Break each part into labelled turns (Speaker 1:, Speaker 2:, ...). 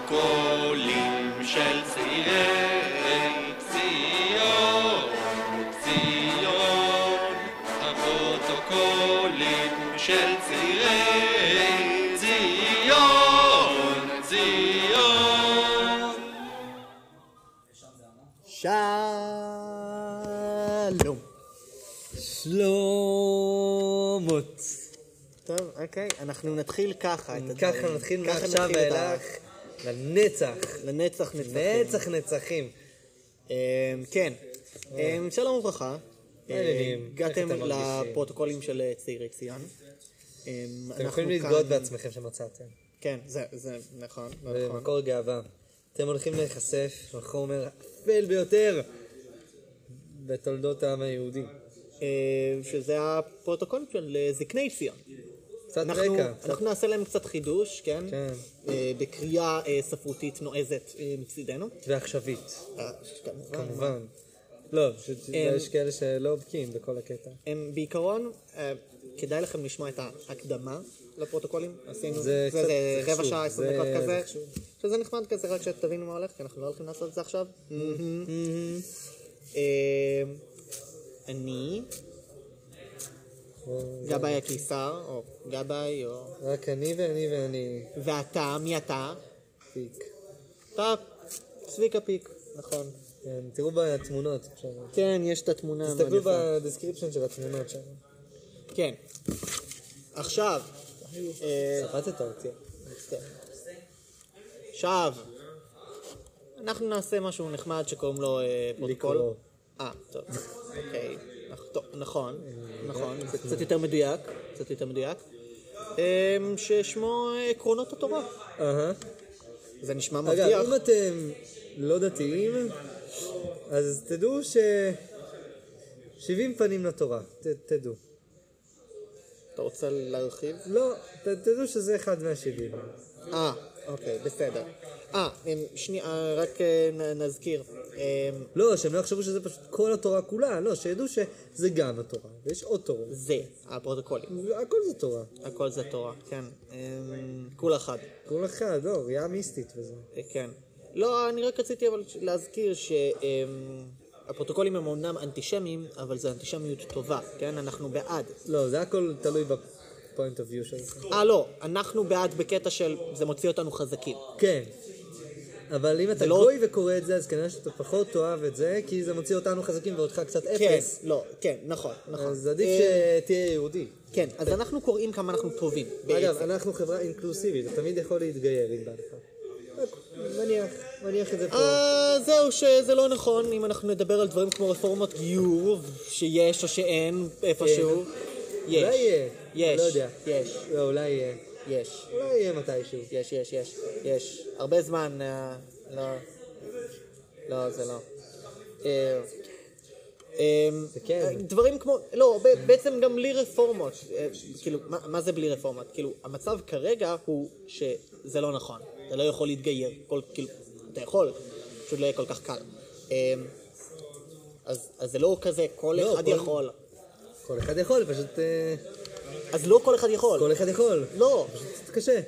Speaker 1: הקולים של צעירי ציון, ציון, הפרוטוקולים של צעירי ציון, ציון.
Speaker 2: שלום.
Speaker 3: שלומות.
Speaker 2: טוב, אוקיי, אנחנו נתחיל ככה. את הדברים.
Speaker 3: ככה נתחיל
Speaker 2: ככה
Speaker 3: מעכשיו
Speaker 2: נתחיל את ה-
Speaker 3: ואילך לנצח.
Speaker 2: לנצח נצחים.
Speaker 3: נצח נצחים.
Speaker 2: אמ, כן. אמ, שלום וברכה.
Speaker 3: מה העניינים?
Speaker 2: אמ, הגעתם
Speaker 3: איך אתם מרגישים?
Speaker 2: לפרוטוקולים של אה, צעירי ציון. אמ,
Speaker 3: אתם
Speaker 2: אנחנו
Speaker 3: יכולים
Speaker 2: כאן-
Speaker 3: להתגאות בעצמכם שמצאתם.
Speaker 2: כן, זה- זה נכון,
Speaker 3: זה
Speaker 2: נכון.
Speaker 3: מקור גאווה. אתם הולכים להיחשף לחומר אפל ביותר בתולדות העם היהודי.
Speaker 2: אמ, שזה הפרוטוקולים של אה, זקני ציון.
Speaker 3: קצת
Speaker 2: אנחנו-
Speaker 3: רקע. קצת-
Speaker 2: אנחנו נעשה להם קצת חידוש, כן?
Speaker 3: כן.
Speaker 2: אה, בקריאה אה, ספרותית נועזת אה, מצידנו.
Speaker 3: ועכשווית,
Speaker 2: אה, כמובן.
Speaker 3: כמובן. לא, ש-
Speaker 2: אה,
Speaker 3: יש כאלה שלא בקיאים בכל הקטע.
Speaker 2: הם בעיקרון, אה, כדאי לכם לשמוע את ההקדמה לפרוטוקולים. עשינו,
Speaker 3: זה
Speaker 2: זה,
Speaker 3: קצת
Speaker 2: זה רבע
Speaker 3: חשוב,
Speaker 2: שעה, עשרים
Speaker 3: זה-
Speaker 2: דקות
Speaker 3: זה
Speaker 2: כזה,
Speaker 3: חשוב.
Speaker 2: שזה נחמד כזה, רק שתבינו מה הולך, כי אנחנו לא הולכים לעשות את זה עכשיו. אה, אני, גבאי הקיסר, או גבאי, או...
Speaker 3: רק אני ואני ואני.
Speaker 2: ואתה, מי אתה?
Speaker 3: פיק.
Speaker 2: אתה, צביקה פיק, נכון.
Speaker 3: כן, תראו בתמונות עכשיו.
Speaker 2: כן, יש את התמונה.
Speaker 3: תסתכלו
Speaker 2: המעדיפה.
Speaker 3: בדסקריפשן של התמונות שם.
Speaker 2: כן. עכשיו, אה,
Speaker 3: סחטת אותי.
Speaker 2: עכשיו, אנחנו נעשה משהו נחמד שקוראים לו אה, פרוטוקול.
Speaker 3: לקרוא.
Speaker 2: אה, טוב, אוקיי. נכ- טוב, נכון,
Speaker 3: אה,
Speaker 2: נכון, זה קצת יותר מדויק, קצת יותר מדויק. אה, ששמו אה, עקרונות התורה.
Speaker 3: אהה.
Speaker 2: זה נשמע מבטיח.
Speaker 3: אגב, אם אתם לא דתיים, אז תדעו ש... 70 פנים לתורה, ת, תדעו.
Speaker 2: אתה רוצה להרחיב?
Speaker 3: לא, ת, תדעו שזה אחד מהשבעים.
Speaker 2: אה, אוקיי, בסדר. אה, אה, שנייה, רק אה, נ- נזכיר. אה,
Speaker 3: לא, שהם לא יחשבו שזה פשוט כל התורה כולה, לא, שידעו שזה גם התורה, ויש עוד תורה.
Speaker 2: זה, הפרוטוקולים.
Speaker 3: הכל זה תורה.
Speaker 2: הכל זה תורה, כן. אה, כולה אחת.
Speaker 3: כל אחד, לא, ראייה מיסטית וזה.
Speaker 2: אה, כן. לא, אני רק רציתי אבל להזכיר שהפרוטוקולים הם אומנם אנטישמיים, אבל זו אנטישמיות טובה, כן? אנחנו בעד.
Speaker 3: לא, זה הכל תלוי בפוינט אוף יו שלך.
Speaker 2: אה, לא, אנחנו בעד בקטע של זה מוציא אותנו חזקים.
Speaker 3: כן. אבל אם אתה
Speaker 2: לא-
Speaker 3: גוי וקורא את זה, אז כנראה שאתה פחות תאהב את זה, כי זה מוציא אותנו חזקים ואותך קצת
Speaker 2: כן,
Speaker 3: אפס.
Speaker 2: לא, כן, נכון, נכון.
Speaker 3: אז עדיף
Speaker 2: אה,
Speaker 3: שתהיה יהודי.
Speaker 2: כן, אז אנחנו קוראים כמה אנחנו טובים,
Speaker 3: אגב,
Speaker 2: בעצם.
Speaker 3: אנחנו חברה אינקלוסיבית, אתה תמיד יכול להתגייר אם בא לך. מניח, מניח את זה פה.
Speaker 2: אה, זהו, שזה לא נכון אם אנחנו נדבר על דברים כמו רפורמות גיור, שיש או שאין, איפשהו.
Speaker 3: אה, אולי
Speaker 2: יש,
Speaker 3: יהיה.
Speaker 2: יש,
Speaker 3: לא יודע.
Speaker 2: יש,
Speaker 3: לא, אולי יהיה.
Speaker 2: יש.
Speaker 3: אולי יהיה מתישהו.
Speaker 2: יש, יש, יש, יש. הרבה זמן, אה, לא. לא, זה לא. אה, אה,
Speaker 3: זה כן.
Speaker 2: דברים כמו, לא, ב- בעצם גם בלי רפורמות. אה, כאילו, מה מה זה בלי רפורמות? כאילו, המצב כרגע הוא שזה לא נכון. אתה לא יכול להתגייר. כל- כאילו, אתה יכול, פשוט לא יהיה כל כך קל. אה, אז אז זה לא כזה, כל
Speaker 3: לא,
Speaker 2: אחד
Speaker 3: כל-
Speaker 2: יכול.
Speaker 3: כל אחד יכול, פשוט... אה,
Speaker 2: אז לא כל אחד יכול.
Speaker 3: כל אחד יכול.
Speaker 2: לא.
Speaker 3: פשוט קשה.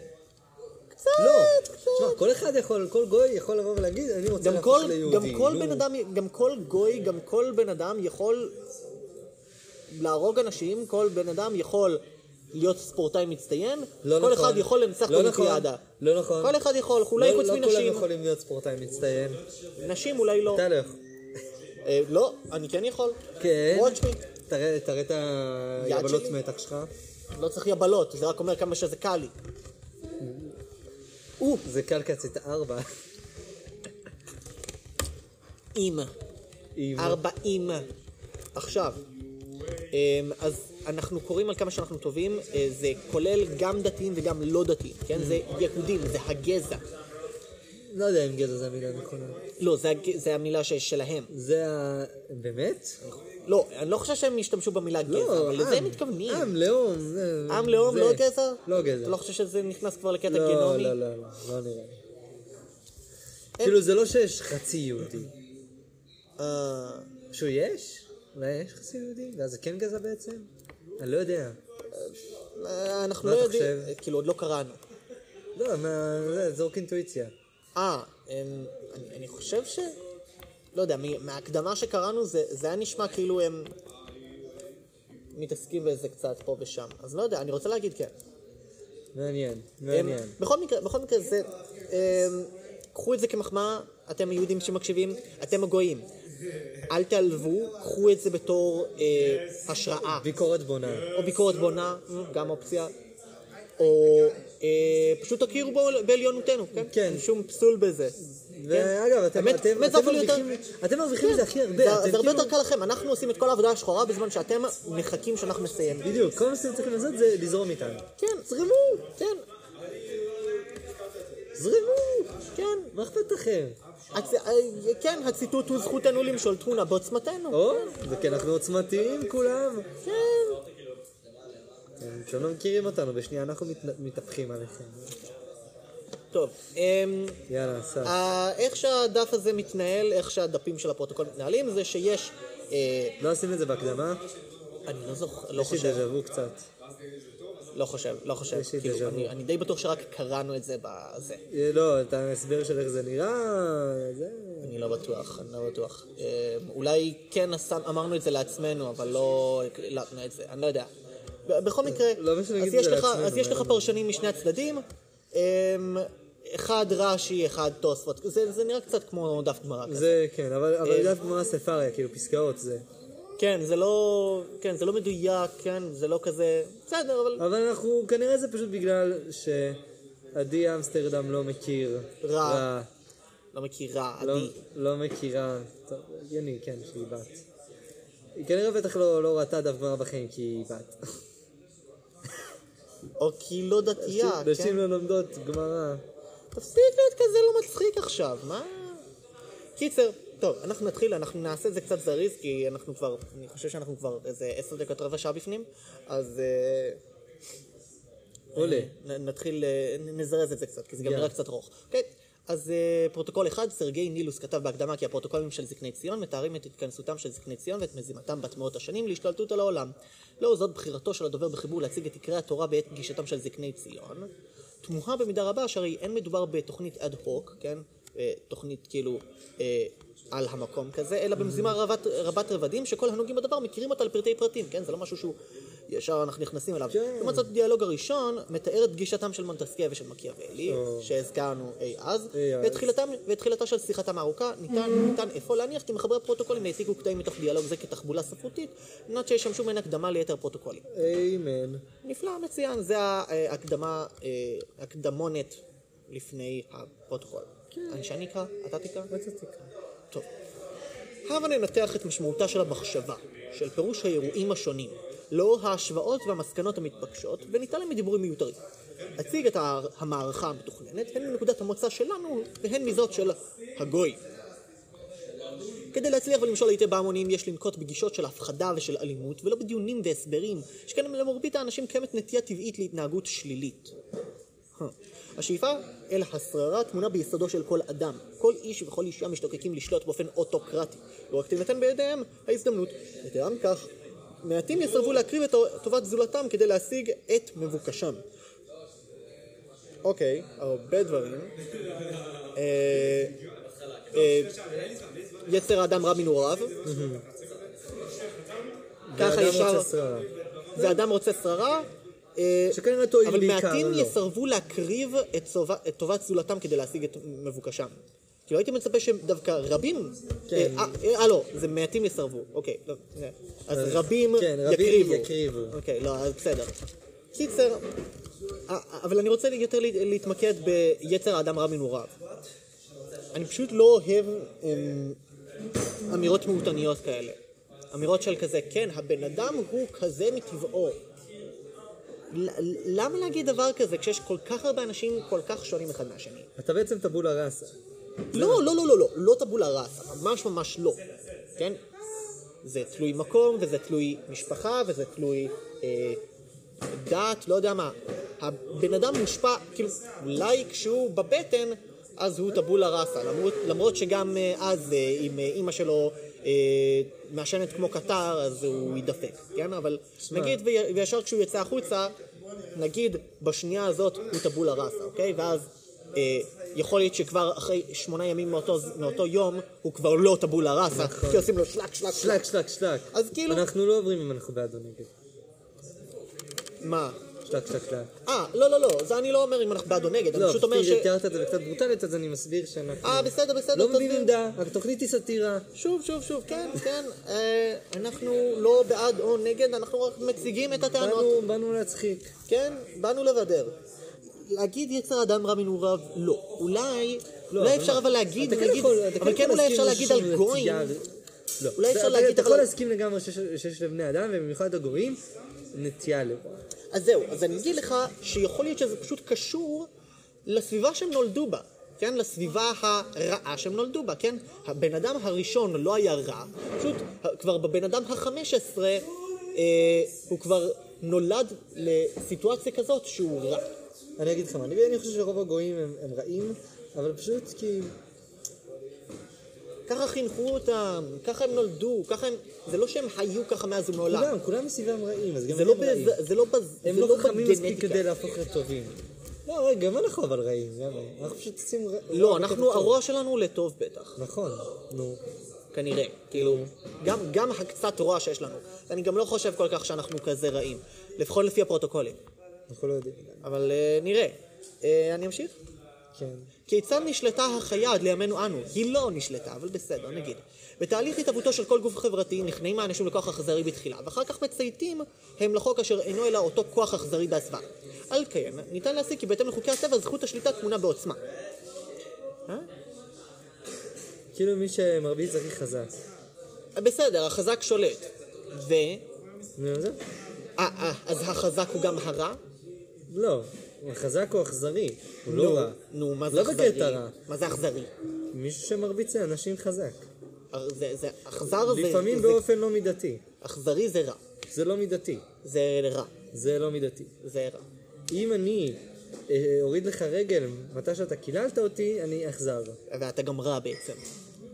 Speaker 2: קצת,
Speaker 3: לא.
Speaker 2: קצת.
Speaker 3: תשמע, כל אחד יכול, כל גוי יכול לבוא ולהגיד, אני רוצה
Speaker 2: גם
Speaker 3: להפוך
Speaker 2: כל, גם
Speaker 3: ליהודי.
Speaker 2: כל
Speaker 3: נו.
Speaker 2: בן אדם, גם כל גוי, גם כל בן אדם יכול להרוג אנשים, כל בן אדם יכול להיות ספורטאי מצטיין,
Speaker 3: לא
Speaker 2: כל
Speaker 3: נכון.
Speaker 2: אחד יכול לנצח
Speaker 3: לא
Speaker 2: באולימפיאדה.
Speaker 3: נכון. לא נכון.
Speaker 2: כל אחד יכול, אולי
Speaker 3: לא-
Speaker 2: חוץ
Speaker 3: לא
Speaker 2: מנשים.
Speaker 3: כולם יכולים להיות ספורטאים מצטיין.
Speaker 2: נשים אולי לא.
Speaker 3: אתה לא יכול.
Speaker 2: אה, לא, אני כן יכול.
Speaker 3: כן.
Speaker 2: Watch me.
Speaker 3: תראה תראה את היבלות
Speaker 2: שלי.
Speaker 3: מתח שלך.
Speaker 2: לא צריך יבלות, זה רק אומר כמה שזה קל לי.
Speaker 3: או, זה קלקצית ארבע.
Speaker 2: אם.
Speaker 3: עם-
Speaker 2: 40. עכשיו, אמ, אז אנחנו קוראים על כמה שאנחנו טובים, אה, זה כולל גם דתיים וגם לא דתיים, כן? זה יהודים, זה הגזע.
Speaker 3: לא יודע אם גזע זה המילה הנכונה.
Speaker 2: לא, זה, הג- זה המילה ש- שלהם.
Speaker 3: זה ה... באמת?
Speaker 2: לא, אני לא חושב שהם השתמשו במילה גזע, אה, אבל לזה הם מתכוונים.
Speaker 3: לא, עם, לאום. זה-
Speaker 2: עם לאום,
Speaker 3: זה.
Speaker 2: לא גזע?
Speaker 3: לא גזע.
Speaker 2: אתה לא חושב שזה נכנס כבר לקטע
Speaker 3: לא,
Speaker 2: גנומי?
Speaker 3: לא, לא, לא, לא נראה לי. כאילו זה לא שיש חצי יהודי.
Speaker 2: אה,
Speaker 3: שהוא יש? אולי יש חצי יהודי? ואז זה כן גזע בעצם? אני לא יודע.
Speaker 2: אה, אנחנו
Speaker 3: מה
Speaker 2: לא
Speaker 3: אתה
Speaker 2: יודעים, אה,
Speaker 3: חושב?
Speaker 2: כאילו עוד לא קראנו.
Speaker 3: לא, מה... זה- זורק אינטואיציה.
Speaker 2: אה, הם- אני אני חושב ש... לא יודע, מ- מההקדמה שקראנו זה זה היה נשמע כאילו הם מתעסקים בזה קצת פה ושם. אז לא יודע, אני רוצה להגיד כן.
Speaker 3: מעניין,
Speaker 2: אמ,
Speaker 3: מעניין.
Speaker 2: בכל מקרה, בכל מקרה זה... אמ, קחו את זה כמחמאה, אתם היהודים שמקשיבים, אתם הגויים. אל תעלבו, קחו את זה בתור אה, השראה,
Speaker 3: ביקורת בונה.
Speaker 2: או ביקורת בונה, גם אופציה, או אה, פשוט תכירו בו בעליונותנו, כן?
Speaker 3: כן.
Speaker 2: אין שום פסול בזה.
Speaker 3: ואגב, אתם-
Speaker 2: כן. האמת-
Speaker 3: אתם
Speaker 2: האמת, זה
Speaker 3: אתם
Speaker 2: אפילו יותר- כן,
Speaker 3: מרוויחים- אתם מרוויחים מזה הכי הרבה.
Speaker 2: זה-
Speaker 3: אתם
Speaker 2: זה הרבה
Speaker 3: כאילו-
Speaker 2: יותר קל לכם, אנחנו עושים את כל העבודה השחורה בזמן שאתם מחכים שאנחנו נסיים.
Speaker 3: בדיוק, כל מה שאתם צריכים לעשות זה לזרום איתנו.
Speaker 2: כן, זרמו, כן,
Speaker 3: זרמו!
Speaker 2: כן.
Speaker 3: מה אכפת לכם?
Speaker 2: הצ- אה, כן, הציטוט הוא זכותנו למשול תמונה בעוצמתנו.
Speaker 3: או, וכן, אנחנו עוצמתיים כולם.
Speaker 2: כן.
Speaker 3: אתם לא מכירים אותנו, בשנייה אנחנו מת- מתהפכים עליכם.
Speaker 2: טוב, אמ,
Speaker 3: יאללה, אסף.
Speaker 2: ה- איך שהדף הזה מתנהל, איך שהדפים של הפרוטוקול מתנהלים, זה שיש... אה,
Speaker 3: לא עשינו את זה בהקדמה?
Speaker 2: אני לא זוכר, לא
Speaker 3: יש לי
Speaker 2: חושב,
Speaker 3: דז'ה וו קצת.
Speaker 2: לא חושב, לא חושב.
Speaker 3: יש לי
Speaker 2: כאילו,
Speaker 3: דז'ה
Speaker 2: אני-
Speaker 3: וו.
Speaker 2: אני די בטוח שרק קראנו את זה בזה.
Speaker 3: אה, לא, את ההסבר של איך זה נראה, זה...
Speaker 2: אני לא בטוח, אני לא בטוח. אה, אולי כן עשה- אמרנו את זה לעצמנו, אבל לא הקלטנו את זה, אני לא יודע. ב- בכל מקרה,
Speaker 3: לא משנה,
Speaker 2: אז
Speaker 3: נגיד
Speaker 2: יש
Speaker 3: את זה
Speaker 2: לך-
Speaker 3: לעצמנו,
Speaker 2: אז יש לך
Speaker 3: אה.
Speaker 2: פרשנים משני הצדדים, אמ, אחד רש"י, אחד תוספות. זה זה נראה קצת כמו דף גמרא כזה.
Speaker 3: זה כן, אבל
Speaker 2: אה,
Speaker 3: אבל דף גמרא ספריה, כאילו פסקאות זה.
Speaker 2: כן, זה לא... כן, זה לא מדויק, כן, זה לא כזה... בסדר, אבל
Speaker 3: אבל אנחנו, כנראה זה פשוט בגלל שעדי אמסטרדם לא מכיר
Speaker 2: רע. לא מכירה,
Speaker 3: לא-
Speaker 2: עדי.
Speaker 3: לא מכירה, טוב, הגיוני, כן, שהיא בת. היא כנראה בטח לא לא ראתה דף גמרא בחיים כי היא בת.
Speaker 2: או כי לא דתייה, כן?
Speaker 3: נשים לא לומדות גמרא.
Speaker 2: תפסיק להיות כזה לא מצחיק עכשיו, מה? קיצר, טוב, אנחנו נתחיל, אנחנו נעשה את זה קצת זריז, כי אנחנו כבר, אני חושב שאנחנו כבר איזה עשר דקות רבע שעה בפנים, אז אה,
Speaker 3: עולה.
Speaker 2: נ- נתחיל, אה, נ- נזרז את זה קצת, כי זה גם
Speaker 3: יאללה.
Speaker 2: נראה קצת ארוך. אוקיי, אז אה, פרוטוקול אחד, סרגי נילוס כתב בהקדמה כי הפרוטוקולים של זקני ציון מתארים את התכנסותם של זקני ציון ואת מזימתם בת מאות השנים להשתלטות על העולם. לאור זאת, בחירתו של הדובר בחיבור להציג את עיקרי התורה בעת גישתם של זקני ציון, תמוהה במידה רבה, שהרי אין מדובר בתוכנית אד הוק, כן? אה, תוכנית כאילו אה, על המקום כזה, אלא במזימה רבת, רבת רבדים שכל הנוגעים בדבר מכירים אותה לפרטי פרטים, כן? זה לא משהו שהוא ישר אנחנו נכנסים אליו.
Speaker 3: כן.
Speaker 2: לעומת זאת, הדיאלוג הראשון מתאר את גישתם של מונטסקיה ושל מקיאוולי,
Speaker 3: או.
Speaker 2: שהזכרנו אי אז,
Speaker 3: אי אז.
Speaker 2: ותחילתם, ותחילתה של שיחתם הארוכה, ניתן, ניתן אפוא להניח כי מחברי הפרוטוקולים העתיקו קטעים מתוך דיאלוג זה כתחבולה ספרותית, על מנת שישמשו מעין הקדמה ליתר הפרוטוקולים.
Speaker 3: איימן.
Speaker 2: נפלא, מצוין, זה ההקדמה, אה, הקדמונת לפני הפרוטוקול. כן. שאני אקרא? אתה תקרא?
Speaker 3: אתה תקרא.
Speaker 2: טוב. הבה ננתח את משמעותה של המחשבה, של פירוש האירועים השונים, לאור ההשוואות והמסקנות המתבקשות, וניתן להם דיבורים מיותרים. אציג את ה- המערכה המתוכננת, הן מנקודת המוצא שלנו, והן מזאת של הגוי. כדי להצליח ולמשול היטב בהמונים, יש לנקוט בגישות של הפחדה ושל אלימות, ולא בדיונים והסברים, שכן למרבית האנשים קיימת נטייה טבעית להתנהגות שלילית. השאיפה אל השררה טמונה ביסודו של כל אדם. כל איש וכל אישה משתוקקים לשלוט באופן אוטוקרטי. לא רק תינתן בידיהם ההזדמנות. יתרה מכך, מעטים יסרבו להקריב את טובת זולתם כדי להשיג את מבוקשם. אוקיי, הרבה דברים. אה, אה, יצר האדם רע מנעוריו. ככה
Speaker 3: ואדם
Speaker 2: ישר,
Speaker 3: רוצה שררה.
Speaker 2: ואדם רוצה שררה. אה,
Speaker 3: שכנראה תועיל
Speaker 2: אבל
Speaker 3: בעיקר,
Speaker 2: מעטים
Speaker 3: לא.
Speaker 2: יסרבו להקריב את צובה- את טובת זולתם כדי להשיג את מבוקשם. כאילו הייתי מצפה שדווקא רבים...
Speaker 3: כן.
Speaker 2: אה, אה, אה, לא, זה מעטים יסרבו. אוקיי, לא, אה. אז
Speaker 3: אז-
Speaker 2: רבים
Speaker 3: כן,
Speaker 2: יקריבו.
Speaker 3: רבים יקריבו.
Speaker 2: אוקיי, לא, אז בסדר. קיצר, אה, אה, אבל אני רוצה יותר להת- להתמקד ביצר האדם רע מנעוריו. אני פשוט לא אוהב אמ, אמירות מעוטניות כאלה. אמירות של כזה, כן, הבן אדם הוא כזה מטבעו. ל- למה להגיד דבר כזה כשיש כל כך הרבה אנשים כל כך שונים אחד מהשני?
Speaker 3: אתה בעצם טבולה ראסה.
Speaker 2: לא, לא, לא, לא, לא, לא טבולה ראסה, ממש ממש לא, כן? זה תלוי מקום, וזה תלוי משפחה, וזה תלוי אה, דת, לא יודע מה. הבן אדם מושפע, כאילו, אולי כשהוא בבטן, אז הוא טבולה ראסה, למרות, למרות שגם אה, אז, אה, אם אה, אימא שלו אה, מעשנת כמו קטר, אז הוא יידפק, כן? אבל נגיד, ויה- וישר כשהוא יצא החוצה, נגיד, בשנייה הזאת הוא טבולה ראסה, אוקיי? ואז... אה, יכול להיות שכבר אחרי שמונה ימים מאותו, ז- מאותו יום, הוא כבר לא טבולה ראסה,
Speaker 3: נכון.
Speaker 2: כי עושים לו שלק, שלק, שלק.
Speaker 3: שלק, שלק, שלק.
Speaker 2: אז כאילו-
Speaker 3: אנחנו לא עוברים אם אנחנו בעד או נגד.
Speaker 2: מה?
Speaker 3: שלק, שלק, שלק.
Speaker 2: אה, לא, לא, לא, זה אני לא אומר אם אנחנו בעד או נגד, אני
Speaker 3: לא,
Speaker 2: פשוט אומר ש...
Speaker 3: פשוט תיארת את זה בקצת ברוטלית, אז אני מסביר שאנחנו...
Speaker 2: אה, בסדר, בסדר,
Speaker 3: לא מביעים
Speaker 2: תסביר.
Speaker 3: עמדה, התוכנית היא סאטירה.
Speaker 2: שוב, שוב, שוב, כן, כן, אה, אנחנו לא בעד או נגד, אנחנו רק מציגים את הטענות.
Speaker 3: באנו- באנו להצחיק.
Speaker 2: כן, באנו לבדר. להגיד יצר אדם רע מנעוריו, לא. אולי,
Speaker 3: לא,
Speaker 2: אולי
Speaker 3: אבל
Speaker 2: אפשר
Speaker 3: מה?
Speaker 2: אבל להגיד,
Speaker 3: אתה כן
Speaker 2: נגיד,
Speaker 3: יכול- אתה
Speaker 2: אבל כן
Speaker 3: יכול
Speaker 2: אולי
Speaker 3: להסכים
Speaker 2: אפשר
Speaker 3: למשהו
Speaker 2: להגיד על
Speaker 3: שהוא
Speaker 2: גויים,
Speaker 3: נטייה ו- לא.
Speaker 2: אולי אפשר
Speaker 3: אתה-
Speaker 2: להגיד
Speaker 3: אתה
Speaker 2: אבל-
Speaker 3: יכול להסכים לגמרי שיש- שיש לבני אדם, ובמיוחד הגויים, נטייה לרע.
Speaker 2: אז זהו, אז אני אגיד לך שיכול להיות שזה פשוט קשור לסביבה שהם נולדו בה, כן? לסביבה הרעה שהם נולדו בה, כן? הבן אדם הראשון לא היה רע, פשוט ה- כבר בבן אדם החמש עשרה אה, הוא כבר נולד לסיטואציה כזאת שהוא רע.
Speaker 3: אני אגיד לך מה, אני אני חושב שרוב הגויים הם הם רעים, אבל פשוט כי...
Speaker 2: ככה חינכו אותם, ככה הם נולדו, ככה הם... זה לא שהם היו ככה מאז ומעולם.
Speaker 3: כולם, כולם מסביבם רעים, אז גם
Speaker 2: זה לא
Speaker 3: הם רעים.
Speaker 2: בז- זה לא בז...
Speaker 3: הם
Speaker 2: זה
Speaker 3: לא חכמים מספיק
Speaker 2: בגנטיקה.
Speaker 3: כדי להפוך לטובים. לא, רגע, גם אנחנו אבל רעים, גם אנחנו פשוט עושים רע.
Speaker 2: לא,
Speaker 3: רע
Speaker 2: אנחנו,
Speaker 3: בקטע טוב.
Speaker 2: הרוע שלנו הוא לטוב בטח.
Speaker 3: נכון, נו.
Speaker 2: כנראה. כאילו, גם, גם הקצת רוע שיש לנו. אני גם לא חושב כל כך שאנחנו כזה רעים. לפחות לפי הפרוטוקולים.
Speaker 3: אנחנו לא יודעים.
Speaker 2: אבל uh, נראה. Uh, אני אמשיך?
Speaker 3: כן.
Speaker 2: כיצד נשלטה החיה עד לימינו אנו? היא לא נשלטה, אבל בסדר, נגיד. בתהליך התהוותו של כל גוף חברתי נכנעים האנשים לכוח אכזרי בתחילה, ואחר כך מצייתים הם לחוק אשר אינו אלא אותו כוח אכזרי בהסוואה. על כן, ניתן להסיק כי בהתאם לחוקי הטבע זכות השליטה טמונה בעוצמה.
Speaker 3: כאילו מי שמרביץ הכי חזק.
Speaker 2: בסדר, החזק שולט. ו...
Speaker 3: נו, זה?
Speaker 2: אה, אה, אז החזק הוא גם הרע?
Speaker 3: לא. החזק הוא אכזרי, הוא לא רע.
Speaker 2: נו, מה זה
Speaker 3: לא
Speaker 2: אכזרי?
Speaker 3: בקטע רע.
Speaker 2: מה זה אכזרי?
Speaker 3: מישהו שמרביץ לאנשים חזק.
Speaker 2: אה, זה, זה, אכזר זה,
Speaker 3: לפעמים
Speaker 2: זה,
Speaker 3: באופן לא מידתי.
Speaker 2: אכזרי זה רע.
Speaker 3: זה לא מידתי.
Speaker 2: זה רע.
Speaker 3: זה לא מידתי.
Speaker 2: זה רע.
Speaker 3: אם אני אה, אוריד לך רגל מתי שאתה קיללת אותי, אני אכזר.
Speaker 2: ואתה גם רע בעצם.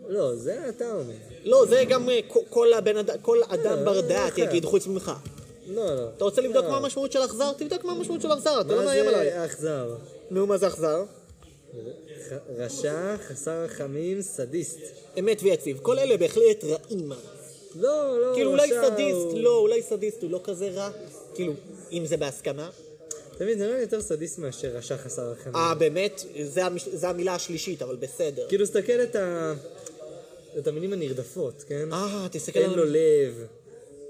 Speaker 3: לא, זה אתה אומר.
Speaker 2: לא, זה גם אה, כל- כל הבן אדם, כל אדם
Speaker 3: אה,
Speaker 2: בר
Speaker 3: זה
Speaker 2: דעת
Speaker 3: אחר.
Speaker 2: יגיד חוץ ממך.
Speaker 3: לא, לא.
Speaker 2: אתה רוצה לבדוק
Speaker 3: לא.
Speaker 2: מה המשמעות של אכזר? תבדוק מה המשמעות של אכזר, אתה
Speaker 3: מה
Speaker 2: לא מאיים עליי.
Speaker 3: זה אכזר?
Speaker 2: נו, מה זה אכזר?
Speaker 3: ח- רשע, חסר רחמים, סדיסט.
Speaker 2: אמת ויציב. כל אלה בהחלט רעים.
Speaker 3: לא, לא,
Speaker 2: כאילו אולי
Speaker 3: רשע
Speaker 2: סדיסט,
Speaker 3: הוא-
Speaker 2: לא, אולי סדיסט הוא לא כזה רע. כאילו, אם זה בהסכמה.
Speaker 3: תמיד זה נראה לי יותר סדיסט מאשר רשע חסר רחמים.
Speaker 2: אה, באמת? זה המש- זה המילה השלישית, אבל בסדר.
Speaker 3: כאילו, תסתכל את ה... את המילים הנרדפות, כן?
Speaker 2: אה, תסתכל
Speaker 3: אין
Speaker 2: על...
Speaker 3: לו לב,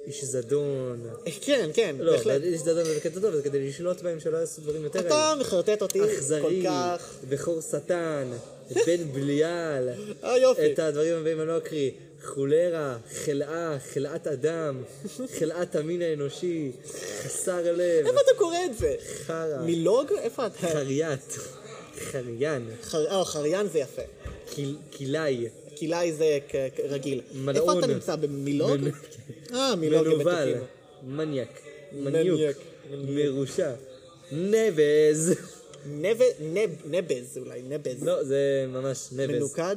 Speaker 3: איש זדון.
Speaker 2: כן, כן,
Speaker 3: לא,
Speaker 2: בהחלט.
Speaker 3: אבל איש זדון זה בקטע טוב, זה כדי לשלוט בהם שלא יעשו דברים יותר
Speaker 2: אתה מחרטט אותי כל
Speaker 3: אכזרי,
Speaker 2: כך.
Speaker 3: בכור שטן, בן בליעל,
Speaker 2: אה, יופי.
Speaker 3: את הדברים הבאים אני לא אקריא, חולרה, חלאה, חלאת אדם, חלאת המין האנושי, חסר לב,
Speaker 2: איפה אתה קורא את זה?
Speaker 3: חרא,
Speaker 2: מלוג? איפה אתה?
Speaker 3: חריית, חריין,
Speaker 2: חר- אה, חריין זה יפה.
Speaker 3: קיל- כלאי,
Speaker 2: כלאי זה כ- כ- רגיל.
Speaker 3: מלעון.
Speaker 2: איפה אתה נמצא? במילוג?
Speaker 3: מנ-
Speaker 2: אה, מילוג הם
Speaker 3: מנוול,
Speaker 2: בטוחים.
Speaker 3: מניאק,
Speaker 2: מניאק,
Speaker 3: מניוק, מרושע, נבז,
Speaker 2: נב- נב- נבז אולי, נבז.
Speaker 3: לא זה ממש נבז,
Speaker 2: מנוקד?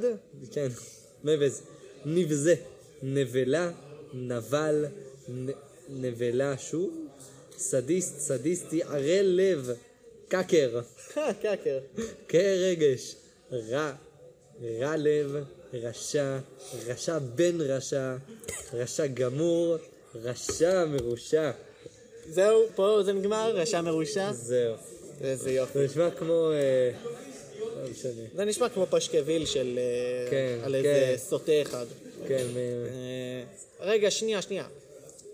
Speaker 3: כן, מבז. נבזה. נבלה, נבל, נ... נבלה שוב. סדיסט, סדיסטי, ערל לב. קקר.
Speaker 2: אה, קקר.
Speaker 3: קר רגש. רע. רע לב. רשע. רשע בן רשע. רשע גמור. רשע מרושע.
Speaker 2: זהו, פה זה נגמר, רשע מרושע.
Speaker 3: זהו.
Speaker 2: איזה יופי.
Speaker 3: זה נשמע כמו... אה, לא משנה.
Speaker 2: זה נשמע כמו פשקוויל של... אה,
Speaker 3: כן,
Speaker 2: על איזה
Speaker 3: כן.
Speaker 2: סוטה אחד.
Speaker 3: כן, מ-
Speaker 2: אה, רגע, שנייה, שנייה.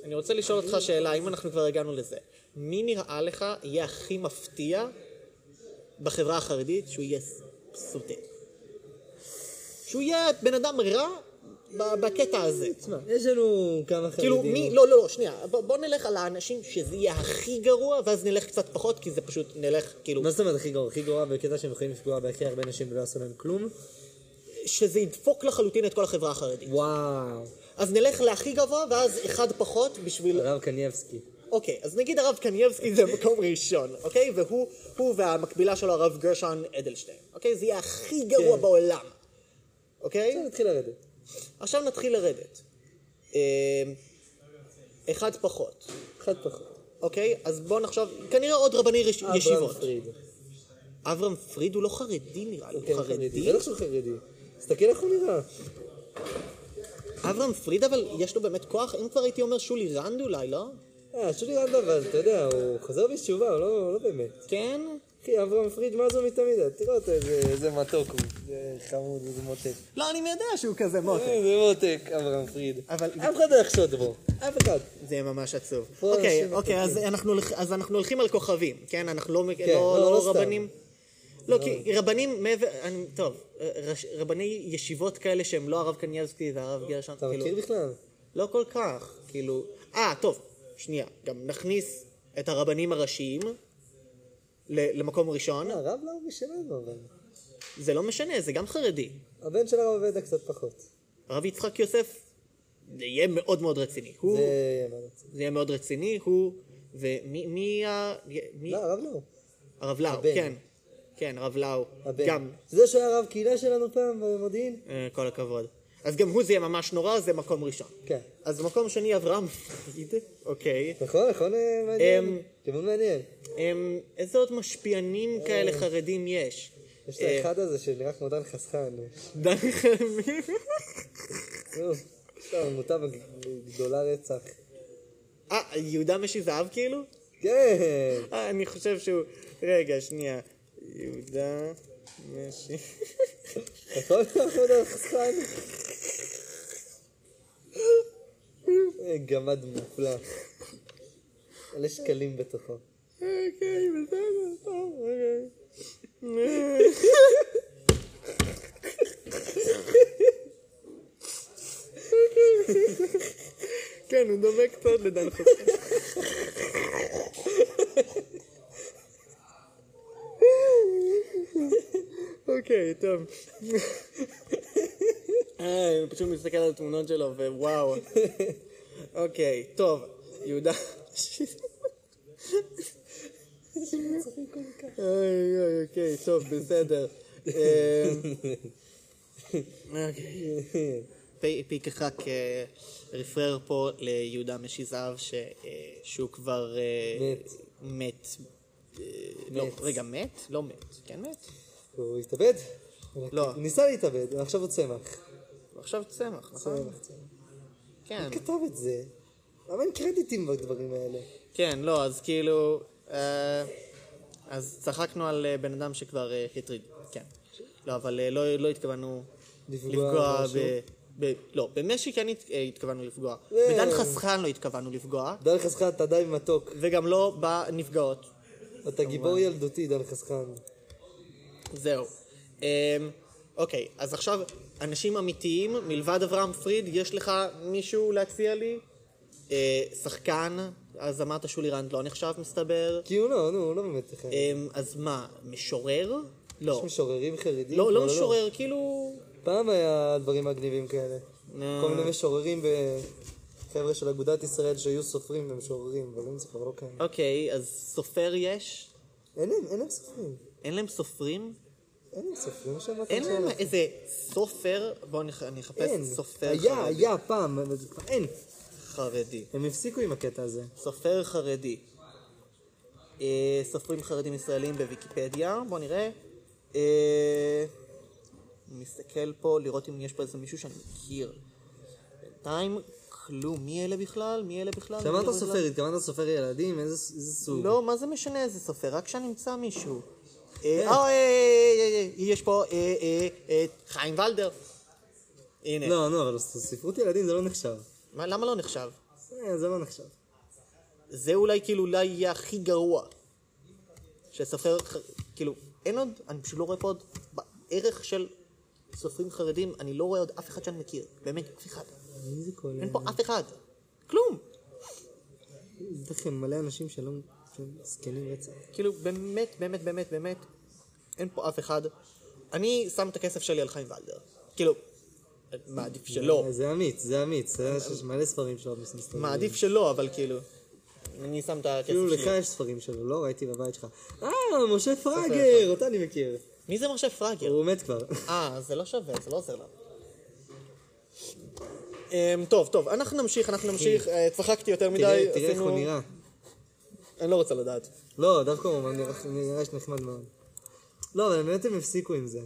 Speaker 2: אני רוצה לשאול אותך שאלה, אם אנחנו כבר הגענו לזה. מי נראה לך יהיה הכי מפתיע בחברה החרדית שהוא יהיה ס- סוטה? שהוא יהיה בן אדם רע ב- בקטע הזה.
Speaker 3: תשמע, יש לנו כמה חרדים.
Speaker 2: כאילו, מי, לא, לא, לא, שנייה. בוא, בוא נלך על האנשים שזה יהיה הכי גרוע, ואז נלך קצת פחות, כי זה פשוט נלך, כאילו,
Speaker 3: מה זאת אומרת הכי גרוע? הכי גרוע בקטע שהם יכולים לפגוע בהכי הרבה נשים ולא יעשו להם כלום?
Speaker 2: שזה ידפוק לחלוטין את כל החברה החרדית.
Speaker 3: וואו.
Speaker 2: אז נלך להכי גבוה, ואז אחד פחות בשביל
Speaker 3: הרב קניאבסקי.
Speaker 2: אוקיי, אז נגיד הרב קנייבסקי זה מקום ראשון, אוקיי? והוא הוא והמקבילה שלו הרב גרשון אדלשטיין, אוקיי? זה יהיה הכי גרוע
Speaker 3: כן.
Speaker 2: בעולם, אוקיי?
Speaker 3: עכשיו נתחיל לרדת.
Speaker 2: עכשיו נתחיל לרדת. אה, אחד פחות,
Speaker 3: אחד פחות. אה,
Speaker 2: אוקיי? אז בואו נחשוב, כנראה עוד רבני רש-
Speaker 3: אברהם
Speaker 2: ישיבות.
Speaker 3: פריד.
Speaker 2: אברהם פריד הוא לא חרדי נראה לי,
Speaker 3: הוא כן
Speaker 2: הוא חרדי?
Speaker 3: בטח שהוא חרדי. תסתכל איך הוא נראה.
Speaker 2: אברהם פריד אבל יש לו באמת כוח? אם כבר הייתי אומר שולי רנד אולי, לא?
Speaker 3: אה, שולי רנד אבל, אתה יודע, הוא חזר בתשובה, הוא לא, לא באמת.
Speaker 2: כן?
Speaker 3: אחי, אברהם פריד, מה זו מתמיד? תראה אותו, איזה, איזה מתוק הוא. זה חמוד, איזה מותק.
Speaker 2: לא, אני יודע שהוא כזה מותק.
Speaker 3: איזה מותק, אברהם פריד.
Speaker 2: אה, אבל-
Speaker 3: אף אחד לא יחשוד בו. אף אחד.
Speaker 2: זה יהיה ממש עצוב.
Speaker 3: פה
Speaker 2: אוקיי,
Speaker 3: אנשים
Speaker 2: אוקיי, אז
Speaker 3: מתוקים.
Speaker 2: אנחנו הולכ- אז אנחנו הולכים על כוכבים, כן? אנחנו לא-
Speaker 3: לא, לא
Speaker 2: לא
Speaker 3: סתם.
Speaker 2: רבנים. לא, כי רבנים מעבר, אני- טוב, אה, רש- רבני ישיבות כאלה שהם לא הרב קניאבסקי והרב גרשון,
Speaker 3: אתה
Speaker 2: כאילו,
Speaker 3: מכיר בכלל?
Speaker 2: לא כל כך, כאילו, אה, טוב, שנייה, גם נכניס את הרבנים הראשיים ל- למקום ראשון,
Speaker 3: הרב לא משלנו, אבל.
Speaker 2: זה לא משנה, זה גם חרדי.
Speaker 3: הבן של הרב עובדה קצת פחות.
Speaker 2: הרב יצחק יוסף, זה יהיה מאוד מאוד רציני. הוא,
Speaker 3: זה... מה רציני.
Speaker 2: זה יהיה מאוד רציני, הוא, ומי, מי ה... מי-
Speaker 3: לא, הרב לא.
Speaker 2: הרב לאו,
Speaker 3: הבן.
Speaker 2: כן. כן, הרב לאו.
Speaker 3: הבן.
Speaker 2: גם,
Speaker 3: אתה יודע שהוא היה רב קהילה שלנו פעם במודיעין?
Speaker 2: אה, כל הכבוד. אז גם הוא זה יהיה ממש נורא, זה מקום ראשון.
Speaker 3: כן.
Speaker 2: אז מקום שני, אברהם פריד, אוקיי.
Speaker 3: נכון, נכון, אה,
Speaker 2: אמ,
Speaker 3: מעניין. כיוון מעניין.
Speaker 2: אמ, איזה עוד משפיענים כאלה חרדים יש?
Speaker 3: יש
Speaker 2: אה,
Speaker 3: את האחד הזה שנראה כמו דן חסכן. אה,
Speaker 2: דן חמי.
Speaker 3: נו, יש לו עמותה גדולה רצח.
Speaker 2: אה, יהודה משי זהב כאילו?
Speaker 3: כן!
Speaker 2: אה, אני חושב שהוא... רגע, שנייה. יהודה משי...
Speaker 3: נכון, נכון, דן חסכן? אה, גמד מופלא. מלא שקלים בתוכו.
Speaker 2: אוקיי, בסדר, טוב, אוקיי. אה, כן, הוא דומה קצת לדן חסון. אוקיי, טוב. אה, אני פשוט מסתכל על התמונות שלו, ווואו. אוקיי, טוב, יהודה.
Speaker 3: אה,
Speaker 2: אוי אוי,
Speaker 3: כן,
Speaker 2: אוקיי, טוב, בסדר. אה, אוקיי. פי- פיק החק אה, רפרר פה ליהודה משי זהב, ש- אה, שהוא כבר... אה,
Speaker 3: מת.
Speaker 2: מת. אה, לא,
Speaker 3: מת.
Speaker 2: רגע, מת? לא מת. כן מת?
Speaker 3: הוא התאבד?
Speaker 2: לא.
Speaker 3: הוא ניסה להתאבד, ועכשיו הוא צמח.
Speaker 2: עכשיו צמח, נכון?
Speaker 3: צמח, צמח.
Speaker 2: כן,
Speaker 3: מי כתב את זה? למה אין קרדיטים בדברים האלה?
Speaker 2: כן, לא, אז כאילו... אה, אז צחקנו על אה, בן אדם שכבר אה, הטריד, כן. לא, אבל אה, לא לא התכוונו
Speaker 3: לפגוע
Speaker 2: לפגוע
Speaker 3: במשהו?
Speaker 2: ב... ב... לא, במשי כן הת- אה, התכוונו לפגוע.
Speaker 3: אה.
Speaker 2: בדן חסכן לא התכוונו לפגוע,
Speaker 3: דן חסכן, אתה די מתוק.
Speaker 2: וגם לא בנפגעות.
Speaker 3: אתה גיבור ילדותי, דן חסכן.
Speaker 2: זהו. אמ, אוקיי, אז עכשיו, אנשים אמיתיים, מלבד אברהם פריד, יש לך מישהו להציע לי? אה, שחקן, אז אמרת שולי רנד לא נחשב מסתבר.
Speaker 3: כי הוא לא, נו, הוא לא באמת חי.
Speaker 2: אמ, אז מה, משורר? לא.
Speaker 3: יש משוררים חרדים?
Speaker 2: לא, לא
Speaker 3: אבל
Speaker 2: משורר, כאילו...
Speaker 3: פעם היה דברים מגניבים כאלה.
Speaker 2: נו.
Speaker 3: כל מיני משוררים ו... חבר'ה של אגודת ישראל שהיו סופרים ומשוררים, אבל אם זה כבר לא קיים.
Speaker 2: אוקיי, אז סופר יש?
Speaker 3: אין להם, אין להם סופרים.
Speaker 2: אין להם סופרים?
Speaker 3: אין להם סופרים שם. מה אתה
Speaker 2: אין להם
Speaker 3: שואל?
Speaker 2: איזה סופר, בואו נח- אני אחפש
Speaker 3: אין.
Speaker 2: סופר
Speaker 3: היה,
Speaker 2: חרדי.
Speaker 3: היה פעם, אבל זה כבר אין.
Speaker 2: חרדי.
Speaker 3: הם הפסיקו עם הקטע הזה.
Speaker 2: אה, סופר חרדי. אה, סופרים חרדים ישראלים בוויקיפדיה, בואו נראה. אה, נסתכל פה לראות אם יש פה איזה מישהו שאני מכיר. בינתיים, כלום. מי אלה בכלל? מי אלה בכלל? מי אלה
Speaker 3: התכוונת
Speaker 2: בכלל?
Speaker 3: סופר, התכוונת סופר ילדים, איזה איזה סוג.
Speaker 2: לא, מה זה משנה איזה סופר? רק כשנמצא מישהו.
Speaker 3: כן.
Speaker 2: אה, אה, אה, אה, אה, יש פה אה, אה, אה, חיים ולדר. הנה.
Speaker 3: לא, נו, אבל ספרות ילדים זה לא נחשב.
Speaker 2: מה- למה לא נחשב?
Speaker 3: אה, זה לא נחשב.
Speaker 2: זה אולי כאילו אולי יהיה הכי גרוע. שסופר, ח- כאילו, אין עוד, אני פשוט לא רואה פה עוד, בערך של סופרים חרדים, אני לא רואה עוד אף אחד שאני מכיר. באמת, אף אחד.
Speaker 3: מי זה כל...
Speaker 2: אין פה אף אחד. כלום.
Speaker 3: יש לכם מלא אנשים שלא... שהם זקנים רצח.
Speaker 2: כאילו, באמת, באמת, באמת, באמת, אין פה אף אחד. אני שם את הכסף שלי על חיים ולדר. כאילו, מעדיף שלא.
Speaker 3: אה, זה אמיץ, זה אמיץ. זה- יש מלא ספרים שלו מסתובבים.
Speaker 2: לא. מעדיף שלא, אבל כאילו, אני שם את הכסף
Speaker 3: אפילו כאילו, לך
Speaker 2: שלי.
Speaker 3: יש ספרים שלו, לא ראיתי בבית שלך. אה, משה פראגר, אותה אני מכיר.
Speaker 2: מי זה משה פראגר?
Speaker 3: הוא מת כבר.
Speaker 2: אה, זה לא שווה, זה לא עוזר לנו. אמ, טוב, טוב, אנחנו נמשיך, אנחנו נמשיך. אה, צחקתי יותר מדי,
Speaker 3: כן. תראה תראה איך
Speaker 2: עשינו-
Speaker 3: הוא נראה.
Speaker 2: אני לא רוצה לדעת.
Speaker 3: לא, דווקא הוא נראה- נראה איש נחמד מאוד. לא, אבל באמת הם הפסיקו עם זה.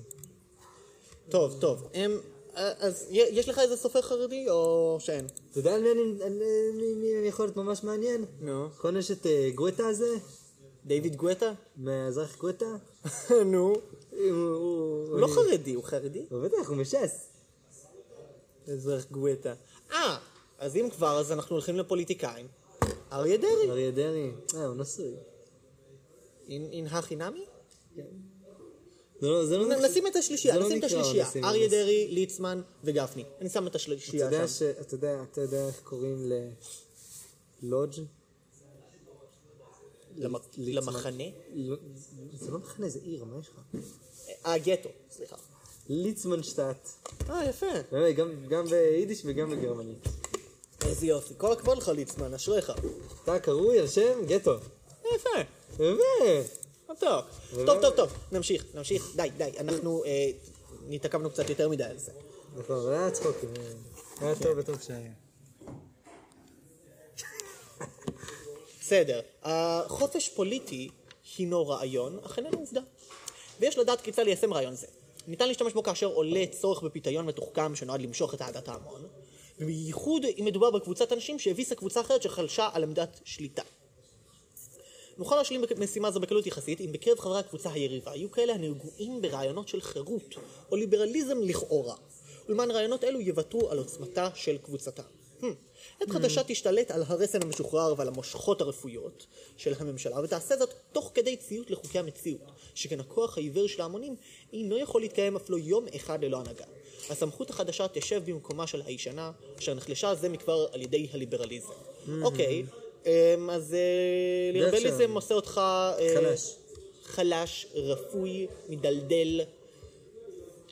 Speaker 2: טוב, טוב. הם, אז י- יש לך איזה סופר חרדי או שאין?
Speaker 3: אתה יודע על מי אני- על מי- מי אני יכול להיות ממש מעניין?
Speaker 2: נו.
Speaker 3: נכון יש את אה, גואטה הזה?
Speaker 2: דיוויד גואטה?
Speaker 3: מהאזרח גואטה?
Speaker 2: נו.
Speaker 3: הוא- הוא...
Speaker 2: הוא לא
Speaker 3: אני-
Speaker 2: חרדי, הוא חרדי?
Speaker 3: הוא בטח, הוא מש"ס.
Speaker 2: אזרח גואטה. אה, אז אם כבר, אז אנחנו הולכים לפוליטיקאים. אריה דרעי.
Speaker 3: אריה דרעי. אה, הוא נשוי.
Speaker 2: אין אין הכי נמי?
Speaker 3: זה לא, זה לא...
Speaker 2: נ- נשים את השלישייה,
Speaker 3: זה לא
Speaker 2: נשים את
Speaker 3: נקרא,
Speaker 2: השלישייה.
Speaker 3: נשים,
Speaker 2: אריה
Speaker 3: נשים.
Speaker 2: דרעי, ליצמן וגפני. אני שם את
Speaker 3: אתה
Speaker 2: השלישייה
Speaker 3: יודע
Speaker 2: שם.
Speaker 3: ש... אתה יודע, אתה יודע איך קוראים ל... לודג'?
Speaker 2: למ-
Speaker 3: ליצמן.
Speaker 2: למחנה?
Speaker 3: לא- זה לא מחנה, זה עיר, מה יש לך?
Speaker 2: אה, הגטו, סליחה.
Speaker 3: ליצמנשטאט.
Speaker 2: אה, יפה.
Speaker 3: באמת, גם- גם ביידיש וגם בגרמנית.
Speaker 2: איזה יופי. כל הכבוד לך, ליצמן, אשריך.
Speaker 3: אתה קרוי על שם גטו.
Speaker 2: יפה.
Speaker 3: באמת.
Speaker 2: מתוק. טוב, טוב, טוב. נמשיך, נמשיך. די, די. אנחנו אה, נתעכבנו קצת יותר מדי על זה.
Speaker 3: נכון, אבל היה צחוקים. היה טוב וטוב שהיה.
Speaker 2: בסדר. החופש פוליטי הינו רעיון, אך איננו עובדה. ויש לדעת כיצד ליישם רעיון זה. ניתן להשתמש בו כאשר עולה צורך בפיתיון מתוחכם שנועד למשוך את אהדת ההמון, ובייחוד אם מדובר בקבוצת אנשים שהביסה קבוצה אחרת שחלשה על עמדת שליטה. נוכל להשלים בק- משימה זו בקלות יחסית אם בקרב חברי הקבוצה היריבה יהיו כאלה הנגועים ברעיונות של חירות או ליברליזם לכאורה, ולמען רעיונות אלו יוותרו על עוצמתה של קבוצתם. Hmm. עת חדשה תשתלט על הרסן המשוחרר ועל המושכות הרפויות של הממשלה ותעשה זאת תוך כדי ציות לחוקי המציאות, שכן הכוח העיוור של ההמונים אינו יכול להתקיים אף לא יום אחד ללא הנהגה. הסמכות החדשה תשב במקומה של הישנה, אשר נחלשה זה מכבר על ידי הליברליזם. אוקיי, אמ, אז אה,
Speaker 3: דרך
Speaker 2: ליברליזם
Speaker 3: שם.
Speaker 2: עושה אותך... אה,
Speaker 3: חלש.
Speaker 2: חלש, רפוי, מדלדל,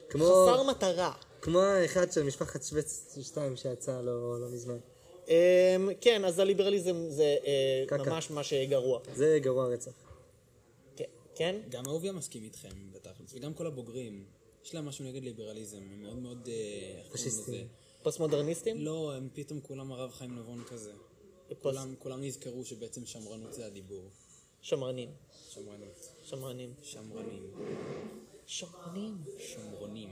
Speaker 3: כמו...
Speaker 2: חסר מטרה.
Speaker 3: כמו האחד של משפחת שווץ 2 שיצא לא לא מזמן.
Speaker 2: אמ, כן, אז הליברליזם זה אה,
Speaker 3: קקה.
Speaker 2: ממש מה שגרוע.
Speaker 3: זה גרוע רצח.
Speaker 2: כן, כן?
Speaker 4: גם אהוביה מסכים איתכם בתכלס, וגם כל הבוגרים. יש להם משהו נגד ליברליזם, הם מאוד מאוד... אה, איך קוראים
Speaker 3: פשיסטים.
Speaker 4: לזה?
Speaker 2: פוסט-מודרניסטים?
Speaker 4: לא, הם פתאום כולם הרב חיים נבון כזה.
Speaker 2: פוסט-
Speaker 4: כולם- כולם נזכרו שבעצם שמרנות זה הדיבור.
Speaker 2: שמרנים.
Speaker 4: שמרנות.
Speaker 2: שמרנים.
Speaker 4: שמרנים.
Speaker 2: שמרנים.
Speaker 4: שמרונים.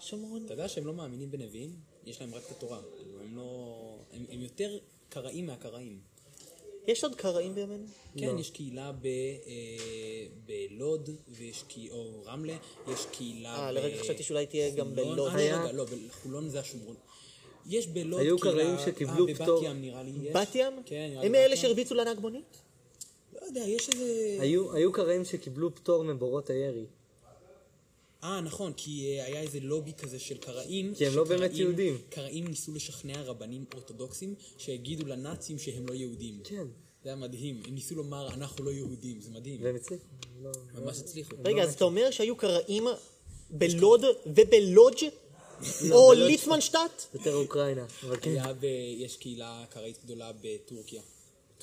Speaker 2: שמרנים.
Speaker 4: אתה יודע שהם לא מאמינים בנביאים? יש להם רק את התורה. הם לא... הם הם יותר קראים מהקראים.
Speaker 2: יש עוד קראים בימינו?
Speaker 4: כן, יש קהילה ב- אה, בלוד, ויש קהילה, או רמלה, יש קהילה
Speaker 2: אה, לרגע חשבתי שאולי תהיה גם
Speaker 4: חולון.
Speaker 2: בלוד.
Speaker 4: אה, לא,
Speaker 3: היה-
Speaker 4: רגע, לא, בחולון זה השומרון. יש בלוד
Speaker 3: היו
Speaker 4: קהילה...
Speaker 3: קראים שקיבלו פטור.
Speaker 4: אה, בבת ים נראה לי יש.
Speaker 2: בת ים?
Speaker 4: כן, נראה לי
Speaker 2: הם
Speaker 4: בת
Speaker 2: אלה
Speaker 4: ים.
Speaker 2: שהרביצו לנהג מונית?
Speaker 4: לא יודע, יש איזה...
Speaker 3: היו היו קראים שקיבלו פטור מבורות הירי.
Speaker 4: אה, נכון, כי אה, היה איזה לובי כזה של קראים.
Speaker 3: כי הם לא באמת
Speaker 4: שקראים-
Speaker 3: יהודים.
Speaker 4: קראים ניסו לשכנע רבנים אורתודוקסים שהגידו לנאצים שהם לא יהודים.
Speaker 3: כן.
Speaker 4: זה היה מדהים. הם ניסו לומר, אנחנו לא יהודים, זה מדהים.
Speaker 3: והם הצליחו. לא-
Speaker 4: ממש הצליחו.
Speaker 2: רגע, אז אתה אומר שהיו קראים בלוד ובלודג' או
Speaker 3: בלודג'.
Speaker 2: ליצמנשטט?
Speaker 3: יותר אוקראינה. אבל כן.
Speaker 4: היה ב... יש קהילה קראית גדולה בטורקיה.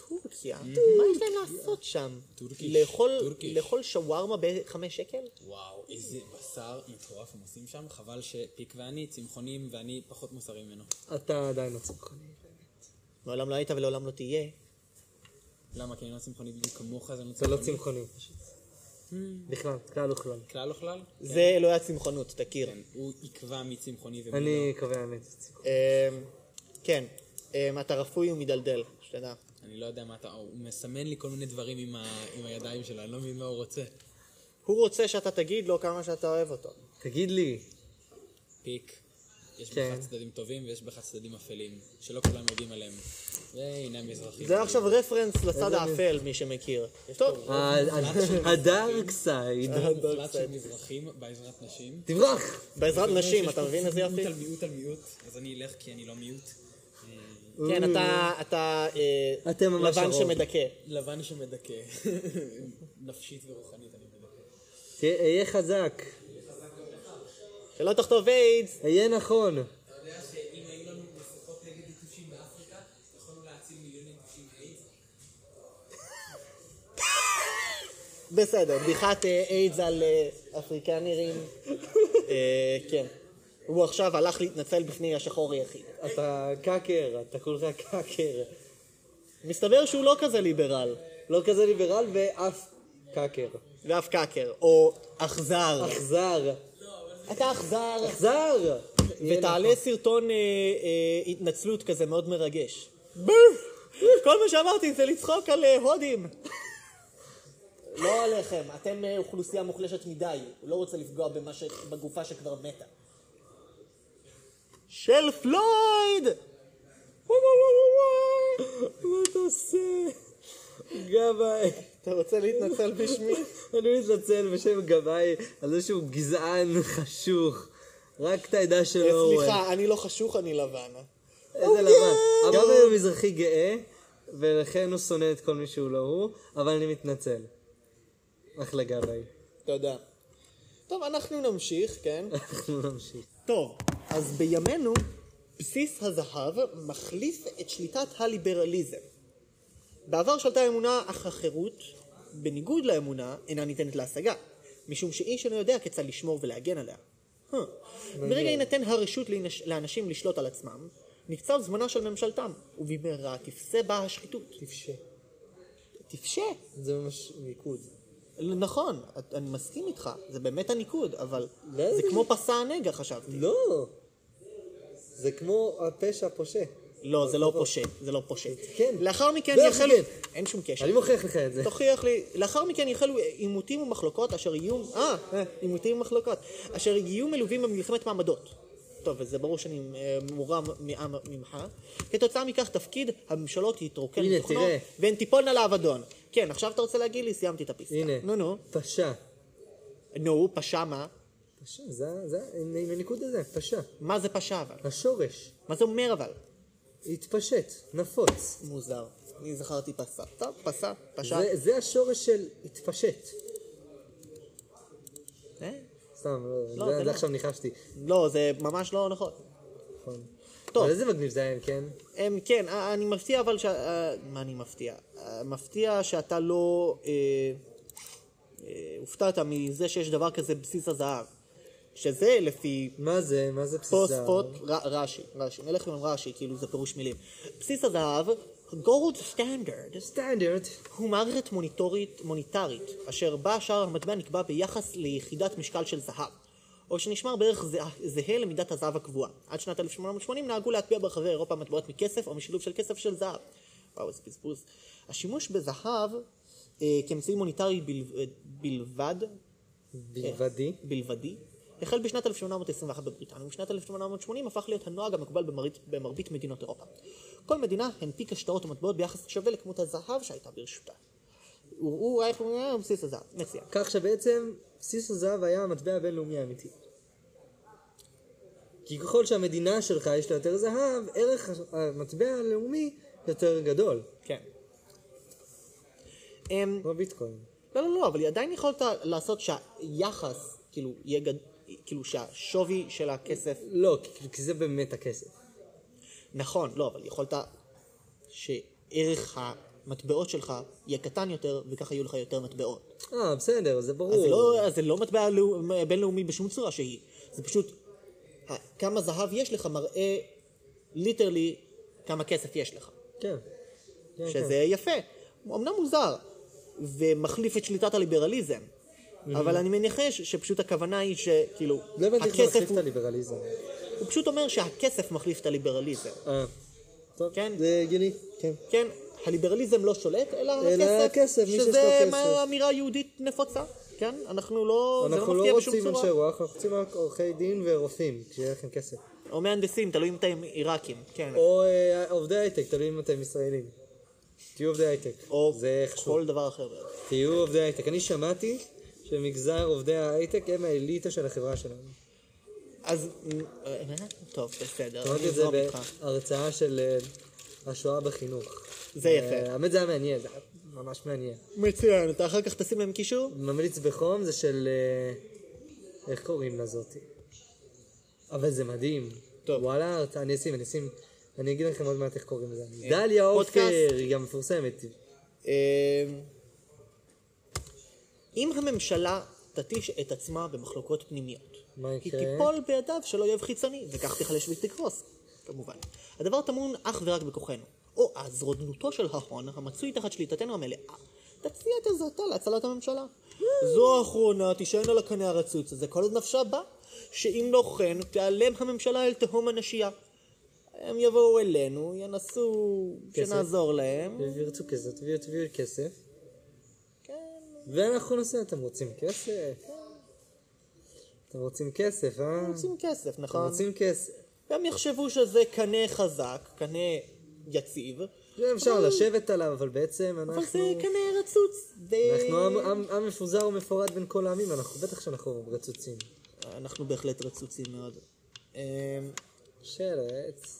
Speaker 2: טורקיה? מה יש להם לעשות שם?
Speaker 4: טורקיש,
Speaker 2: לאכול-
Speaker 4: טורקיש.
Speaker 2: לאכול שווארמה בחמש שקל?
Speaker 4: וואו, איזה בשר מטורף הם עושים שם, חבל שפיק ואני צמחונים ואני פחות מוסרי ממנו.
Speaker 3: אתה עדיין לא צמחוני.
Speaker 2: מעולם לא היית ולעולם לא תהיה.
Speaker 4: למה? כי אני לא צמחוני בדיוק כמוך, אז אני לא
Speaker 3: אתה לא
Speaker 4: צמחוני.
Speaker 3: צמחוני. בכלל, כלל וכלל.
Speaker 4: כלל לא כלל?
Speaker 2: זה אלוהי הצמחונות, תכיר.
Speaker 4: כן, הוא יקבע מי צמחוני ומי לא.
Speaker 3: אני קובע אמת. צמחוני.
Speaker 2: אמ, כן, אמ, אתה רפוי ומדלדל, שתדע.
Speaker 4: אני לא יודע מה אתה... הוא מסמן לי כל מיני דברים עם ה- עם הידיים שלו, אני לא מבין מה הוא רוצה.
Speaker 2: הוא רוצה שאתה תגיד לו כמה שאתה אוהב אותו.
Speaker 3: תגיד לי,
Speaker 4: פיק. יש
Speaker 3: כן.
Speaker 4: בך צדדים טובים ויש בך צדדים אפלים, שלא כולם יודעים עליהם. והנה המזרחים.
Speaker 2: זה עכשיו רפרנס לצד האפל, מי שמכיר. טוב,
Speaker 3: הדארק סייד.
Speaker 4: רוב מוחלט של מזרחים בעזרת נשים.
Speaker 3: תברח!
Speaker 2: בעזרת נשים,
Speaker 4: שיש
Speaker 2: אתה
Speaker 4: פה
Speaker 2: מבין איזה יופי?
Speaker 4: מיעוט על מיעוט על מיעוט, אז אני אלך כי אני לא מיעוט.
Speaker 2: כן, אתה- אתה אה,
Speaker 3: Mm. אתם ממש
Speaker 2: לבן
Speaker 3: הרוב.
Speaker 2: שמדכא.
Speaker 4: לבן שמדכא. נפשית ורוחנית אני מדכא.
Speaker 3: תהיה אהיה חזק,
Speaker 2: שלא תחטוף איידס.
Speaker 3: אהיה נכון.
Speaker 4: אתה יודע שאם היו לנו מסכות נגד יתושים באפריקה, יכולנו להציל מיליון יתושים איידס?
Speaker 2: בסדר, בדיחת אה, איידס על אה, אפריקנרים. אה, כן. הוא עכשיו הלך להתנצל בפני השחור היחיד.
Speaker 3: אתה קאקר, אתה כולך קאקר.
Speaker 2: מסתבר שהוא לא כזה ליברל.
Speaker 3: לא כזה ליברל ואף קאקר.
Speaker 2: ואף קאקר, או אכזר.
Speaker 3: אכזר.
Speaker 2: אתה אכזר.
Speaker 3: אכזר!
Speaker 2: ותעלה סרטון אה, אה, התנצלות כזה מאוד מרגש.
Speaker 3: נכון.
Speaker 2: כל מה שאמרתי זה לצחוק על אה, הודים. לא עליכם, אתם אה, אוכלוסייה מוחלשת מדי, הוא לא רוצה לפגוע במה ש- בגופה שכבר מתה. של פלויד!
Speaker 3: מה אתה עושה? גבאי.
Speaker 2: אתה רוצה להתנצל בשמי?
Speaker 3: אני מתנצל בשם גבאי על זה שהוא גזען חשוך. רק את העדה שלו הוא אוהב.
Speaker 2: סליחה, אני לא חשוך, אני לבן.
Speaker 3: איזה לבן. הגבאי הוא מזרחי גאה, ולכן הוא שונא את כל מי שהוא לא הוא, אבל אני מתנצל. אחלה גבאי.
Speaker 2: תודה. טוב, אנחנו נמשיך, כן?
Speaker 3: אנחנו נמשיך.
Speaker 2: טוב, אז בימינו בסיס הזהב מחליף את שליטת הליברליזם. בעבר שלטה האמונה אך החירות, בניגוד לאמונה, אינה ניתנת להשגה, משום שאיש אינו יודע כיצד לשמור ולהגן עליה. Huh. ברגע יינתן הרשות להינש- לאנשים לשלוט על עצמם, נקצב זמנה של ממשלתם, ובמהרה תפסה בה השחיתות.
Speaker 3: טיפשה.
Speaker 2: תפשה.
Speaker 3: זה ממש מיקוד.
Speaker 2: נכון, את- אני מסכים איתך, זה באמת הניקוד, אבל
Speaker 3: לא.
Speaker 2: זה כמו פסע הנגע חשבתי.
Speaker 3: לא! זה כמו הפשע הפושע.
Speaker 2: לא, זה לא פושע, זה לא פושע.
Speaker 3: כן.
Speaker 2: לאחר מכן
Speaker 3: בטח
Speaker 2: יחלו...
Speaker 3: שכן.
Speaker 2: אין שום קשר.
Speaker 3: אני מוכיח לך את זה.
Speaker 2: תוכיח לי. לאחר מכן יחלו עימותים ומחלוקות אשר יהיו... אה, עימותים ומחלוקות. אשר יהיו מלווים במלחמת מעמדות. טוב, וזה ברור שאני אה, מורם מעם- ממך. כתוצאה מכך תפקיד הממשלות יתרוקן
Speaker 3: הנה,
Speaker 2: מתוכנו,
Speaker 3: תראה.
Speaker 2: והן תיפולנה לאבדון. כן, עכשיו אתה רוצה להגיד לי? סיימתי את הפיסטה.
Speaker 3: הנה.
Speaker 2: נו, נו.
Speaker 3: פשע.
Speaker 2: נו, פשע מה?
Speaker 3: פשע, זה, זה, עם עם הניקוד הזה, פשע.
Speaker 2: מה זה פשע אבל?
Speaker 3: השורש.
Speaker 2: מה זה אומר אבל?
Speaker 3: התפשט, נפוץ.
Speaker 2: מוזר. אני זכרתי פסע. טוב, פסע, פשע.
Speaker 3: זה, זה השורש של התפשט.
Speaker 2: אה?
Speaker 3: סתם,
Speaker 2: לא,
Speaker 3: לא,
Speaker 2: זה
Speaker 3: זה,
Speaker 2: לא.
Speaker 3: זה עכשיו ניחשתי.
Speaker 2: לא, זה ממש לא נכון.
Speaker 3: נכון.
Speaker 2: טוב.
Speaker 3: אבל איזה מגניב זה היה, כן?
Speaker 2: הם, כן, אה, אני מפתיע אבל ש... אה, מה אני מפתיע? אה, מפתיע שאתה לא אה, אה, הופתעת מזה שיש דבר כזה בסיס הזהב. שזה לפי
Speaker 3: מה זה? מה זה
Speaker 2: פוסט
Speaker 3: בסיסה?
Speaker 2: פוט, ר- רש"י, רש"י, נלך עם רש"י, כאילו זה פירוש מילים. בסיס הזהב, gold standard,
Speaker 3: סטנדרט.
Speaker 2: הוא מערכת מוניטורית, מוניטרית, אשר בה שער המטבע נקבע ביחס ליחידת משקל של זהב, או שנשמר בערך זהה, זהה למידת הזהב הקבועה. עד שנת 1880 נהגו להטביע ברחבי אירופה מטבעות מכסף או משילוב של כסף של זהב. וואו, איזה בזבוז. השימוש בזהב אה, כאמצעי מוניטרי בלו, אה, בלבד,
Speaker 3: בלבדי.
Speaker 2: בלבדי, החל בשנת 1821 בבריטניה, ובשנת 1880 הפך להיות הנוהג המקובל במרבית, במרבית מדינות אירופה. כל מדינה הנפיקה שטרות ומטבעות ביחס שווה לכמות הזהב שהייתה ברשותה. הוא איך הוא היה בסיס הזהב, מצוין.
Speaker 3: כך שבעצם בסיס הזהב היה המטבע הבינלאומי האמיתי. כי ככל שהמדינה שלך יש לה יותר זהב, ערך הש- המטבע הלאומי יותר גדול.
Speaker 2: כן. אמ,
Speaker 3: כמו ביטקוין.
Speaker 2: לא, לא, לא, אבל עדיין יכולת לעשות שהיחס, כאילו, יהיה גד... כאילו שהשווי של הכסף,
Speaker 3: לא, כי- כי זה באמת הכסף.
Speaker 2: נכון, לא, אבל יכולת שערך המטבעות שלך יהיה קטן יותר, וככה יהיו לך יותר מטבעות.
Speaker 3: אה, בסדר, זה
Speaker 2: אז זה
Speaker 3: ברור.
Speaker 2: לא, אז זה לא מטבע לאו- בינלאומי בשום צורה שהיא. זה פשוט, ה- כמה זהב יש לך מראה ליטרלי כמה כסף יש לך.
Speaker 3: כן. כן,
Speaker 2: שזה יפה. אמנם מוזר, ומחליף את שליטת הליברליזם. אבל אני מניחש שפשוט הכוונה היא שכאילו,
Speaker 3: כן. לא הבנתי איך זה
Speaker 2: הכסף
Speaker 3: מחליף
Speaker 2: הוא,
Speaker 3: את הליברליזם.
Speaker 2: הוא פשוט אומר שהכסף מחליף את הליברליזם.
Speaker 3: אה. טוב,
Speaker 2: כן.
Speaker 3: זה הגיוני. כן.
Speaker 2: כן, הליברליזם לא שולט, אלא הכסף.
Speaker 3: אלא הכסף, מי שיש לו
Speaker 2: שזה
Speaker 3: כסף.
Speaker 2: מה- אמירה יהודית נפוצה, כן? אנחנו לא, זה
Speaker 3: אנחנו
Speaker 2: לא מפתיע
Speaker 3: לא
Speaker 2: בשום
Speaker 3: רוצים
Speaker 2: צורה.
Speaker 3: אנשי רוח, אנחנו רוצים רק עורכי דין ורופאים, כשיהיה לכם כסף.
Speaker 2: או מהנדסים, תלוי אם אתם עיראקים, כן.
Speaker 3: או אה, עובדי הייטק, תלוי אם אתם ישראלים. תהיו עובדי הייטק.
Speaker 2: או
Speaker 3: זה חשוב.
Speaker 2: כל דבר אחר. בערך.
Speaker 3: תהיו עובדי הייטק. אני שמעתי שמגזר עובדי ההייטק הם האליטה של החברה שלנו.
Speaker 2: אז, אה, טוב, בסדר, אני
Speaker 3: אמרתי את זה
Speaker 2: אזרום איתך.
Speaker 3: בהרצאה של אה, השואה בחינוך.
Speaker 2: זה יפה.
Speaker 3: אה, האמת זה היה מעניין, זה היה ממש מעניין.
Speaker 2: מצוין, אתה אחר כך תשים להם קישור?
Speaker 3: ממליץ בחום זה של... אה, איך קוראים לזאתי? אבל זה מדהים.
Speaker 2: טוב.
Speaker 3: וואלה, הרצאה- אני אשים, אני אשים... אני אגיד לכם עוד מעט איך קוראים לזה. דליה עופר,
Speaker 2: אה, פודקאסט.
Speaker 3: היא גם מפורסמת.
Speaker 2: אה, אם הממשלה תתיש את עצמה במחלוקות פנימיות,
Speaker 3: מה
Speaker 2: היא
Speaker 3: יקרה?
Speaker 2: תיפול בידיו של אויב חיצוני, וכך תיחלש ותקרוס, כמובן. הדבר טמון אך ורק בכוחנו, או אז רודנותו של ההון המצוי תחת שליטתנו המלאה, תציע את עזרתה להצלת הממשלה. זו האחרונה, תישען על הקנה הרצוץ הזה, כל עוד נפשה בה, שאם לא כן, תיעלם הממשלה אל תהום הנשייה. הם יבואו אלינו, ינסו
Speaker 3: כסף.
Speaker 2: שנעזור להם.
Speaker 3: וירצו כסף, תביאו תביאו כסף,
Speaker 2: כן,
Speaker 3: ואנחנו נעשה, אתם רוצים כסף? אתם רוצים כסף, אה?
Speaker 2: הם רוצים כסף,
Speaker 3: אתם
Speaker 2: נכון?
Speaker 3: רוצים כסף.
Speaker 2: הם יחשבו שזה קנה חזק, קנה יציב,
Speaker 3: זה אפשר לשבת עליו, אבל בעצם
Speaker 2: אה. אבל זה כן.
Speaker 3: אנחנו...
Speaker 2: קנה רצוץ. די-
Speaker 3: אנחנו עם- עם- עם מפוזר ומפורד בין כל העמים, אנחנו בטח שאנחנו רצוצים.
Speaker 2: אנחנו בהחלט רצוצים מאוד. אמ,
Speaker 3: שרץ.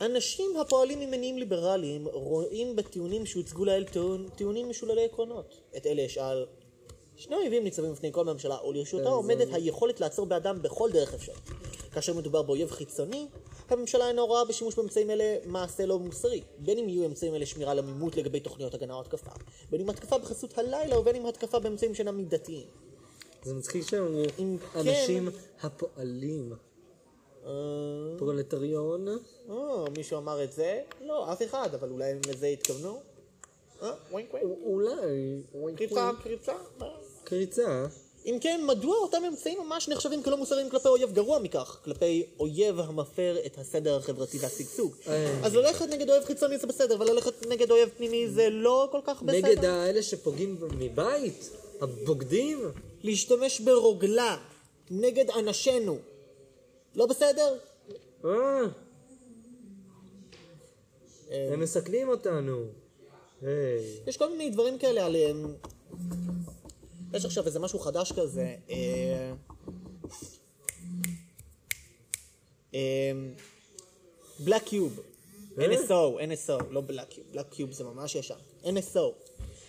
Speaker 2: אנשים הפועלים ממניעים ליברליים רואים בטיעונים שהוצגו לעיל טיעון- טיעונים משוללי עקרונות. את אלה אשאל, שני אויבים ניצבים בפני כל ממשלה, ולרשותה עומדת היכולת לעצור באדם בכל דרך אפשרית. כאשר מדובר באויב חיצוני, הממשלה אינה רואה בשימוש באמצעים אלה מעשה לא מוסרי. בין אם יהיו אמצעים אלה שמירה על עמימות לגבי תוכניות הגנה או התקפה, בין אם התקפה בחסות הלילה ובין אם התקפה באמצעים שאינם מידתיים.
Speaker 3: זה מצחיק שהם אמרו,
Speaker 2: אם כן-
Speaker 3: אנשים הפועלים.
Speaker 2: אה,
Speaker 3: פרולטריון.
Speaker 2: אה, מישהו אמר את זה? לא, אף אחד, אבל אולי הם לזה התכוונו? אה, ווינק ווינק.
Speaker 3: אולי.
Speaker 2: קריצה, קריצה.
Speaker 3: קריצה.
Speaker 2: אם כן, מדוע אותם אמצעים ממש נחשבים כלא מוסריים כלפי אויב גרוע מכך? כלפי אויב המפר את הסדר החברתי והשגשוג.
Speaker 3: אה.
Speaker 2: אז ללכת נגד אויב חיצוני זה בסדר, אבל ללכת נגד אויב פנימי זה לא כל כך בסדר.
Speaker 3: נגד האלה שפוגעים מבית? הבוגדים?
Speaker 2: להשתמש ברוגלה נגד אנשינו. לא בסדר?
Speaker 3: אה,
Speaker 2: אה,
Speaker 3: הם מסכנים אותנו. היי.
Speaker 2: יש כל מיני דברים כאלה על... אמ, יש עכשיו איזה משהו חדש כזה. אה, אמ, בלאק קיוב. NSO, NSO, לא בלאק קיוב. בלאק קיוב זה ממש ישן. NSO.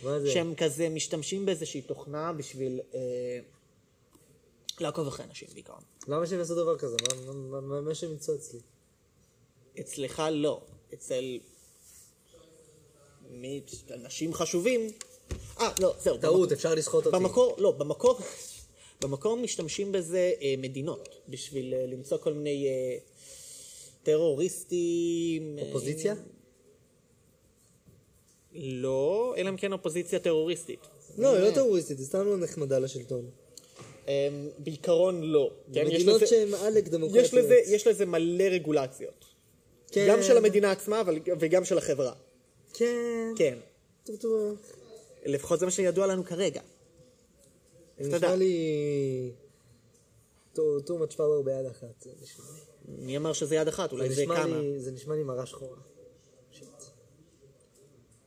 Speaker 3: מה זה?
Speaker 2: שהם כזה משתמשים באיזושהי תוכנה בשביל אה, לעקוב אחרי אנשים בעיקר.
Speaker 3: למה שהם יעשו דבר כזה? מה- מה- מה- מה שהם ימצאו אצלי?
Speaker 2: אה, אצלך לא. אצל... מי? אנשים חשובים. אה, לא, זהו.
Speaker 3: טעות, אפשר לסחוט אותי.
Speaker 2: במקור, לא, במקור, במקור משתמשים בזה אה, מדינות, בשביל אה, למצוא כל מיני אה, טרוריסטים. אה,
Speaker 3: אופוזיציה?
Speaker 2: לא, אלא אם כן אופוזיציה טרוריסטית.
Speaker 3: לא, היא לא טרוריסטית, היא סתם לא נחמדה לשלטון.
Speaker 2: אה, בעיקרון לא. כן, יש
Speaker 3: מדינות
Speaker 2: לזה-
Speaker 3: שהן עלק דמוקרטיות.
Speaker 2: יש לזה- יש לזה מלא רגולציות.
Speaker 3: כן.
Speaker 2: גם של המדינה עצמה אבל- וגם של החברה.
Speaker 3: כן.
Speaker 2: כן.
Speaker 3: טוב, טוב.
Speaker 2: לפחות זה מה שידוע לנו כרגע. אתה יודע.
Speaker 3: נשמע לי... too- too much power ביד אחת. זה נשמע לי.
Speaker 2: מי אמר שזה יד אחת? אולי
Speaker 3: זה
Speaker 2: זה
Speaker 3: נשמע
Speaker 2: כמה.
Speaker 3: לי- זה נשמע לי מראה שחורה. שיט.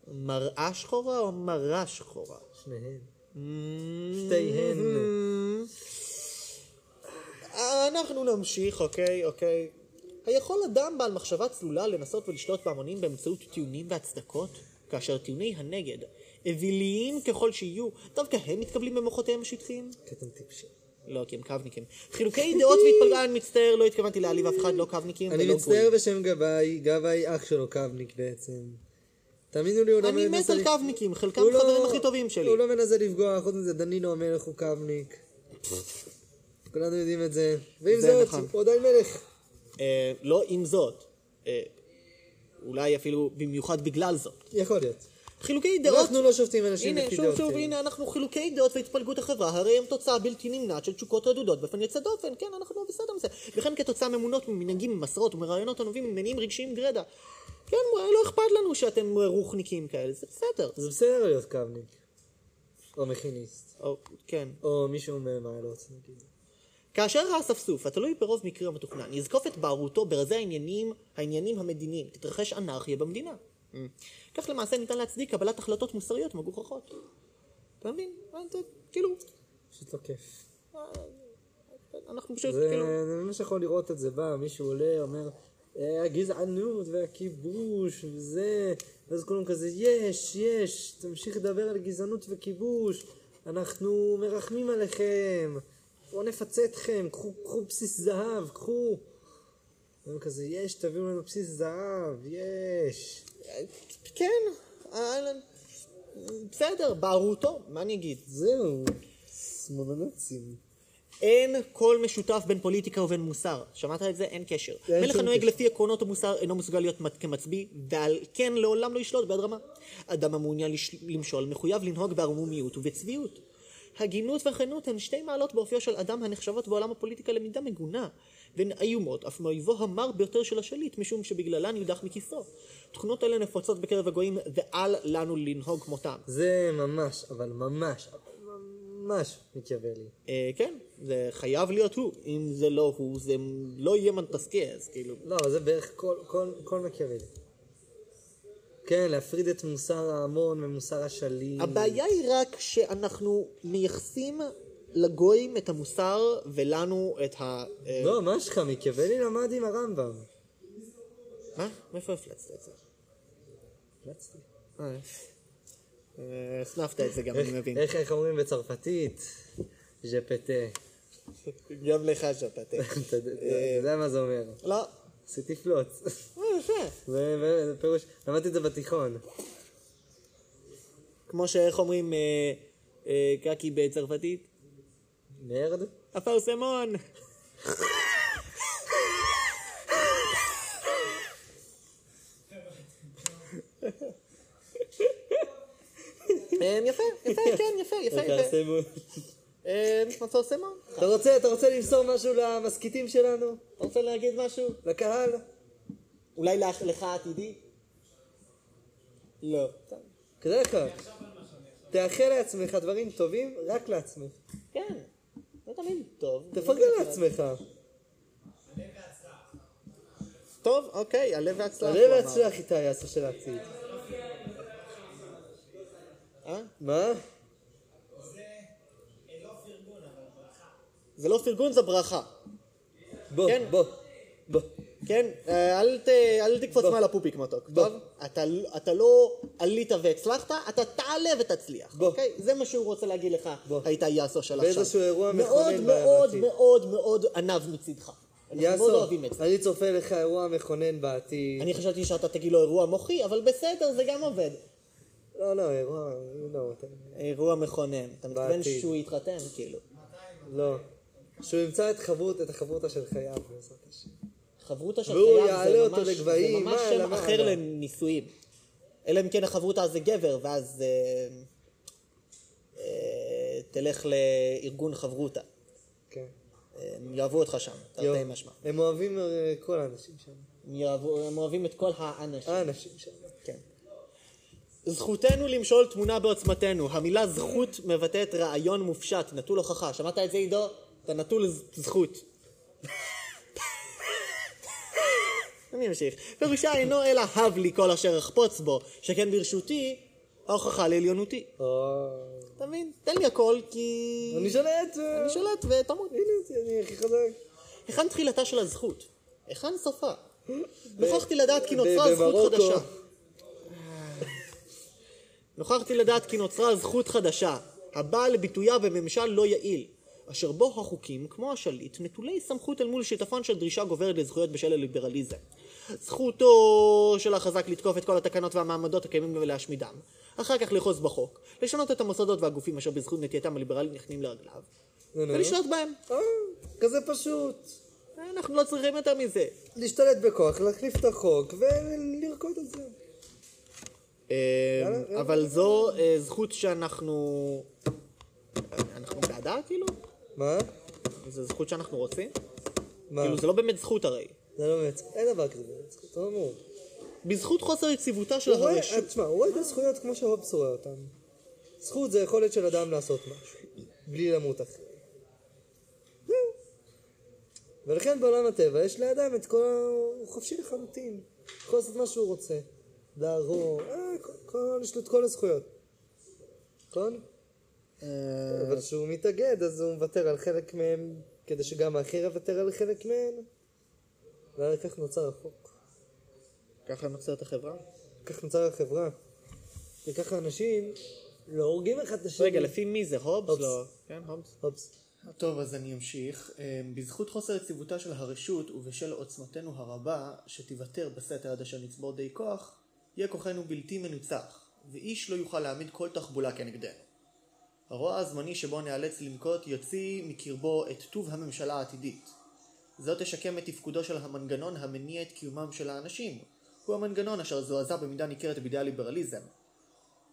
Speaker 2: מראה שחורה או מרה שחורה?
Speaker 3: שניהם. שתיהן.
Speaker 2: Mm. אנחנו נמשיך, אוקיי, אוקיי. היכול אדם בעל מחשבה צלולה לנסות ולשלוט בהמונים באמצעות טיעונים והצדקות, כאשר טיעוני הנגד, אוויליים ככל שיהיו, דווקא הם מתקבלים במוחותיהם השטחיים?
Speaker 3: כי אתם טיפשים.
Speaker 2: לא, כי הם קרבניקים. חילוקי דעות והתפלגן, מצטער, לא התכוונתי להעליב אף אחד, לא קרבניקים ולא
Speaker 3: אני
Speaker 2: גויים.
Speaker 3: מצטער בשם גבאי, גבאי אח שלו קבניק בעצם. תאמינו לי, הוא לא
Speaker 2: אני מת
Speaker 3: מנסה
Speaker 2: על
Speaker 3: לפ-
Speaker 2: קרבניקים, חלקם
Speaker 3: הוא לא-
Speaker 2: חברים הכי טובים שלי.
Speaker 3: הוא לא מנסה לפגוע, חוץ מזה דנינו המלך הוא קבניק. כולנו יודעים את זה. ועם
Speaker 2: זה
Speaker 3: זאת,
Speaker 2: נכון.
Speaker 3: הוא עדיין מלך.
Speaker 2: אה, לא עם זאת. אה, אולי אפילו במיוחד בגלל זאת.
Speaker 3: יכול להיות.
Speaker 2: חילוקי דעות
Speaker 3: אנחנו לא שופטים אנשים
Speaker 2: הנה,
Speaker 3: לפי
Speaker 2: שוב, שוב,
Speaker 3: דעותיהם.
Speaker 2: הנה, אנחנו חילוקי דעות והתפלגות החברה, הרי הם תוצאה בלתי נמנעת של תשוקות רדודות באופן יוצא דופן, כן, אנחנו בסדר עם זה. וכן כתוצאה ממונות ממנהגים, ממסורות ומרעיונות הנובעים ממניעים רגשיים גרידא. כן, לא אכפת לנו שאתם רוחניקים כאלה, זה בסדר.
Speaker 3: זה בסדר להיות קבניק. או מכיניסט.
Speaker 2: או, כן.
Speaker 3: או מישהו לא ממעלות, נגיד.
Speaker 2: כאשר האספסוף, התלוי ברוב מקרי המתוכנן, יזקוף את בערותו ברזי העניינים, העניינים המדיניים, תתרחש אנרכיה במדינה. Mm. כך למעשה ניתן להצדיק קבלת החלטות מוסריות מגוחכות. אתה מבין? אה, זה, כאילו,
Speaker 3: פשוט לא כיף.
Speaker 2: אנחנו פשוט,
Speaker 3: זה,
Speaker 2: כאילו...
Speaker 3: אני ממש יכול לראות את זה בא, מישהו עולה, אומר, "אה, הגזענות והכיבוש וזה, ואז כולם כזה, יש, יש, תמשיך לדבר על גזענות וכיבוש, אנחנו מרחמים עליכם, בואו נפצה אתכם, קחו, קחו בסיס זהב, קחו. והם כזה, יש, תביאו לנו בסיס זהב, יש.
Speaker 2: כן, אה, בסדר, בערותו, מה אני אגיד?
Speaker 3: זהו, שמאלנצים.
Speaker 2: אין כל משותף בין פוליטיקה ובין מוסר. שמעת את זה? אין קשר.
Speaker 3: אין
Speaker 2: מלך
Speaker 3: שום
Speaker 2: הנוהג
Speaker 3: קשר.
Speaker 2: לפי עקרונות המוסר אינו מסוגל להיות מת- כמצביא, ועל כן לעולם לא ישלוט ביד רמה. אדם המעוניין לש... למשול מחויב לנהוג בערמומיות ובצביעות. הגינות והכנות הן שתי מעלות באופיו של אדם הנחשבות בעולם הפוליטיקה למידה מגונה, והן איומות אף מאויבו המר ביותר של השליט, משום שבגללן יודח מכיסו. תכונות אלה נפוצות בקרב הגויים, ואל לנו לנהוג כמותם.
Speaker 3: זה ממש, אבל ממש, אבל ממש מתייבא לי.
Speaker 2: אה, כן, זה חייב להיות הוא. אם זה לא הוא, זה לא יהיה מנטסקי, אז כאילו...
Speaker 3: לא, אבל זה בערך כל, כל, כל מקיאוולי. כן, להפריד את מוסר ההמון ממוסר השליט.
Speaker 2: הבעיה היא רק שאנחנו מייחסים לגויים את המוסר ולנו את ה... אה,
Speaker 3: לא, מה שלך, מקיאוולי למד עם הרמב"ם.
Speaker 2: מה? מאיפה הפלצת את זה?
Speaker 3: המלצתי.
Speaker 2: אה, אה, הסנפת את זה גם,
Speaker 3: איך-
Speaker 2: אני מבין.
Speaker 3: איך איך אומרים בצרפתית? ז'פטה.
Speaker 2: גם לך שפטה.
Speaker 3: אתה יודע-
Speaker 2: אה.
Speaker 3: אתה יודע מה זה אומר.
Speaker 2: לא.
Speaker 3: עשיתי פלוץ.
Speaker 2: אה, יפה.
Speaker 3: זה זה- זה פירוש, למדתי את זה בתיכון.
Speaker 2: כמו שאיך אומרים אה, אה, קקי בצרפתית?
Speaker 3: נרד?
Speaker 2: אפרסמון! אה, יפה, יפה, כן, יפה, יפה, יפה.
Speaker 3: תעשה מול.
Speaker 2: אה, אפרסמון.
Speaker 3: אתה רוצה, אתה רוצה למסור משהו למסכיתים שלנו?
Speaker 2: אתה רוצה להגיד משהו?
Speaker 3: לקהל?
Speaker 2: אולי לך- לך עתידי? לא.
Speaker 3: כדאי לך. תאחל לעצמך דברים טובים רק לעצמך.
Speaker 2: כן, זה תמיד טוב.
Speaker 3: תפרגן לעצמך.
Speaker 2: טוב, אוקיי, הלב והצלח.
Speaker 3: עלה
Speaker 2: הוא אמר.
Speaker 3: והצלח איתי, הסוף של העתיד.
Speaker 2: אה?
Speaker 3: מה?
Speaker 2: זה לא פרגון, זה ברכה.
Speaker 3: בוא,
Speaker 2: כן.
Speaker 3: בוא, בוא.
Speaker 2: כן, אה, אל, ת, אל תקפוץ
Speaker 3: בוא.
Speaker 2: מעל הפופיק מתוק,
Speaker 3: בוא.
Speaker 2: טוב? אתה, ל- אתה לא עלית והצלחת, אתה תעלה ותצליח,
Speaker 3: בוא.
Speaker 2: אוקיי? זה מה שהוא רוצה להגיד לך,
Speaker 3: בוא.
Speaker 2: הייתה יאסו של עכשיו.
Speaker 3: באיזשהו אירוע
Speaker 2: מאוד
Speaker 3: מכונן
Speaker 2: מאוד
Speaker 3: בעתיד.
Speaker 2: מאוד מאוד ענו מצידך. אנחנו מאוד
Speaker 3: יאסו,
Speaker 2: אוהבים את זה.
Speaker 3: אני צופה לך אירוע מכונן בעתיד.
Speaker 2: אני חשבתי שאתה תגיד לו אירוע מוחי, אבל בסדר, זה גם עובד.
Speaker 3: לא, לא, אירוע, לא, אתה-
Speaker 2: אירוע מכונן. אתה מתכוון
Speaker 3: בעתיד.
Speaker 2: שהוא יתחתן, כאילו.
Speaker 3: לא. שהוא ימצא את חברות, את החברותה של חייו, בעזרת השם.
Speaker 2: חברותה של
Speaker 3: והוא
Speaker 2: חייו
Speaker 3: יעלה
Speaker 2: זה
Speaker 3: אותו
Speaker 2: ממש, זה
Speaker 3: לגבהים,
Speaker 2: ממש
Speaker 3: מה,
Speaker 2: שם
Speaker 3: למה,
Speaker 2: אחר
Speaker 3: למה?
Speaker 2: לנישואים. אלא אם כן החברותה זה גבר, ואז אה, אה, תלך לארגון חברותה.
Speaker 3: כן.
Speaker 2: אה, הם יאהבו אותך שם,
Speaker 3: יו.
Speaker 2: תרתי משמע.
Speaker 3: הם אוהבים אה, כל האנשים שם.
Speaker 2: הם יאהבו- הם אוהבים את כל האנשים.
Speaker 3: האנשים שם.
Speaker 2: כן. זכותנו למשול תמונה בעוצמתנו. המילה זכות מבטאת רעיון מופשט, נטול הוכחה. שמעת את זה, עידו? אתה נטול ז- זכות. אני אמשיך. פירושה אינו אלא הב לי כל אשר אחפוץ בו, שכן ברשותי ההוכחה לעליונותי.
Speaker 3: או...
Speaker 2: אתה מבין? תן לי הכל, כי...
Speaker 3: אני שולט! אה.
Speaker 2: אני שולט ותמות.
Speaker 3: הנה, אני הכי חזק.
Speaker 2: היכן תחילתה של הזכות? היכן סופה? נוכחתי לדעת כי נוצרה
Speaker 3: ב-
Speaker 2: זכות
Speaker 3: במרוקו.
Speaker 2: חדשה. נוכחתי לדעת כי נוצרה זכות חדשה, הבאה לביטויה בממשל לא יעיל, אשר בו החוקים, כמו השליט, נטולי סמכות אל מול שיטפון של דרישה גוברת לזכויות בשל הליברליזם. זכותו של החזק לתקוף את כל התקנות והמעמדות הקיימים ולהשמידם, אחר כך לאחוז בחוק, לשנות את המוסדות והגופים אשר בזכות נטייתם הליברלית נכנעים לרגליו,
Speaker 3: נו, נו.
Speaker 2: ולשלוט בהם.
Speaker 3: אה, כזה פשוט.
Speaker 2: אנחנו לא צריכים יותר מזה.
Speaker 3: להשתלט בכוח, להחליף את החוק ולרקוד על זה.
Speaker 2: אה, אבל זו אה, זכות שאנחנו... אנחנו בעדה, כאילו?
Speaker 3: מה?
Speaker 2: זו זכות שאנחנו רוצים?
Speaker 3: אה. מה?
Speaker 2: כאילו, זה לא באמת זכות הרי.
Speaker 3: זה לא מעצ... אין דבר כזה בעצם, אתה אמור.
Speaker 2: בזכות חוסר יציבותה של
Speaker 3: הוא רואה- אה,
Speaker 2: הרשות...
Speaker 3: תשמע, הוא רואה את הזכויות כמו שהובס רואה אותן. זכות זה יכולת של אדם לעשות משהו, בלי למות אחרי. זהו. ולכן בעולם הטבע יש לאדם את כל ה... הוא חופשי לחלוטין. יכול לעשות מה שהוא רוצה. להרוג, אה, כל- כל... יש לו את כל הזכויות. נכון?
Speaker 2: אה,
Speaker 3: אבל כשהוא מתאגד אז הוא מוותר על חלק מהם, כדי שגם האחר יוותר על חלק מהן. ועל כך נוצר החוק.
Speaker 2: ככה נוצרת החברה?
Speaker 3: כך נוצר החברה. וככה אנשים לא הורגים אחד את השני.
Speaker 2: רגע, לפי מי זה? הובס?
Speaker 3: הובס.
Speaker 2: לא. כן, הובס.
Speaker 3: אופס.
Speaker 2: טוב, אז אני אמשיך. אמ, בזכות חוסר יציבותה של הרשות ובשל עוצמתנו הרבה, שתיוותר בסתר עד אשר נצבור די כוח, יהיה כוחנו בלתי מנוצח, ואיש לא יוכל להעמיד כל תחבולה כנגדנו. הרוע הזמני שבו ניאלץ לנקוט יוציא מקרבו את טוב הממשלה העתידית. זאת תשקם את תפקודו של המנגנון המניע את קיומם של האנשים, הוא המנגנון אשר זועזע במידה ניכרת בידי הליברליזם.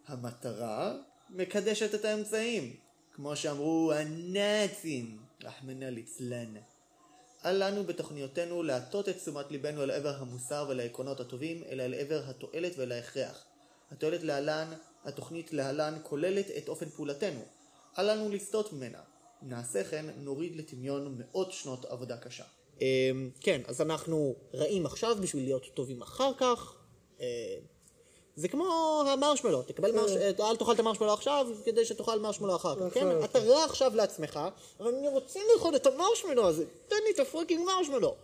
Speaker 2: המטרה מקדשת את האמצעים,
Speaker 5: כמו שאמרו הנאצים, רחמנא ליצלן. אל לנו בתוכניותינו להטות את תשומת ליבנו אל עבר המוסר ולעקרונות הטובים, אלא אל עבר התועלת ולהכרח. התועלת להלן, התוכנית להלן, כוללת את אופן פעולתנו. אל לנו לסטות ממנה. אם נעשה כן, נוריד לטמיון מאות שנות עבודה קשה.
Speaker 2: אמ, כן, אז אנחנו רעים עכשיו בשביל להיות טובים אחר כך. אמ, זה כמו המרשמלו, תקבל
Speaker 3: אה.
Speaker 2: מרשמלו, אל תאכל את המרשמלו עכשיו כדי שתאכל מרשמלו אחר כך, כן?
Speaker 3: אחר
Speaker 2: אתה רע עכשיו לעצמך, אבל אני רוצה לאכול את המרשמלו הזה, תן לי את הפרקינג מרשמלו.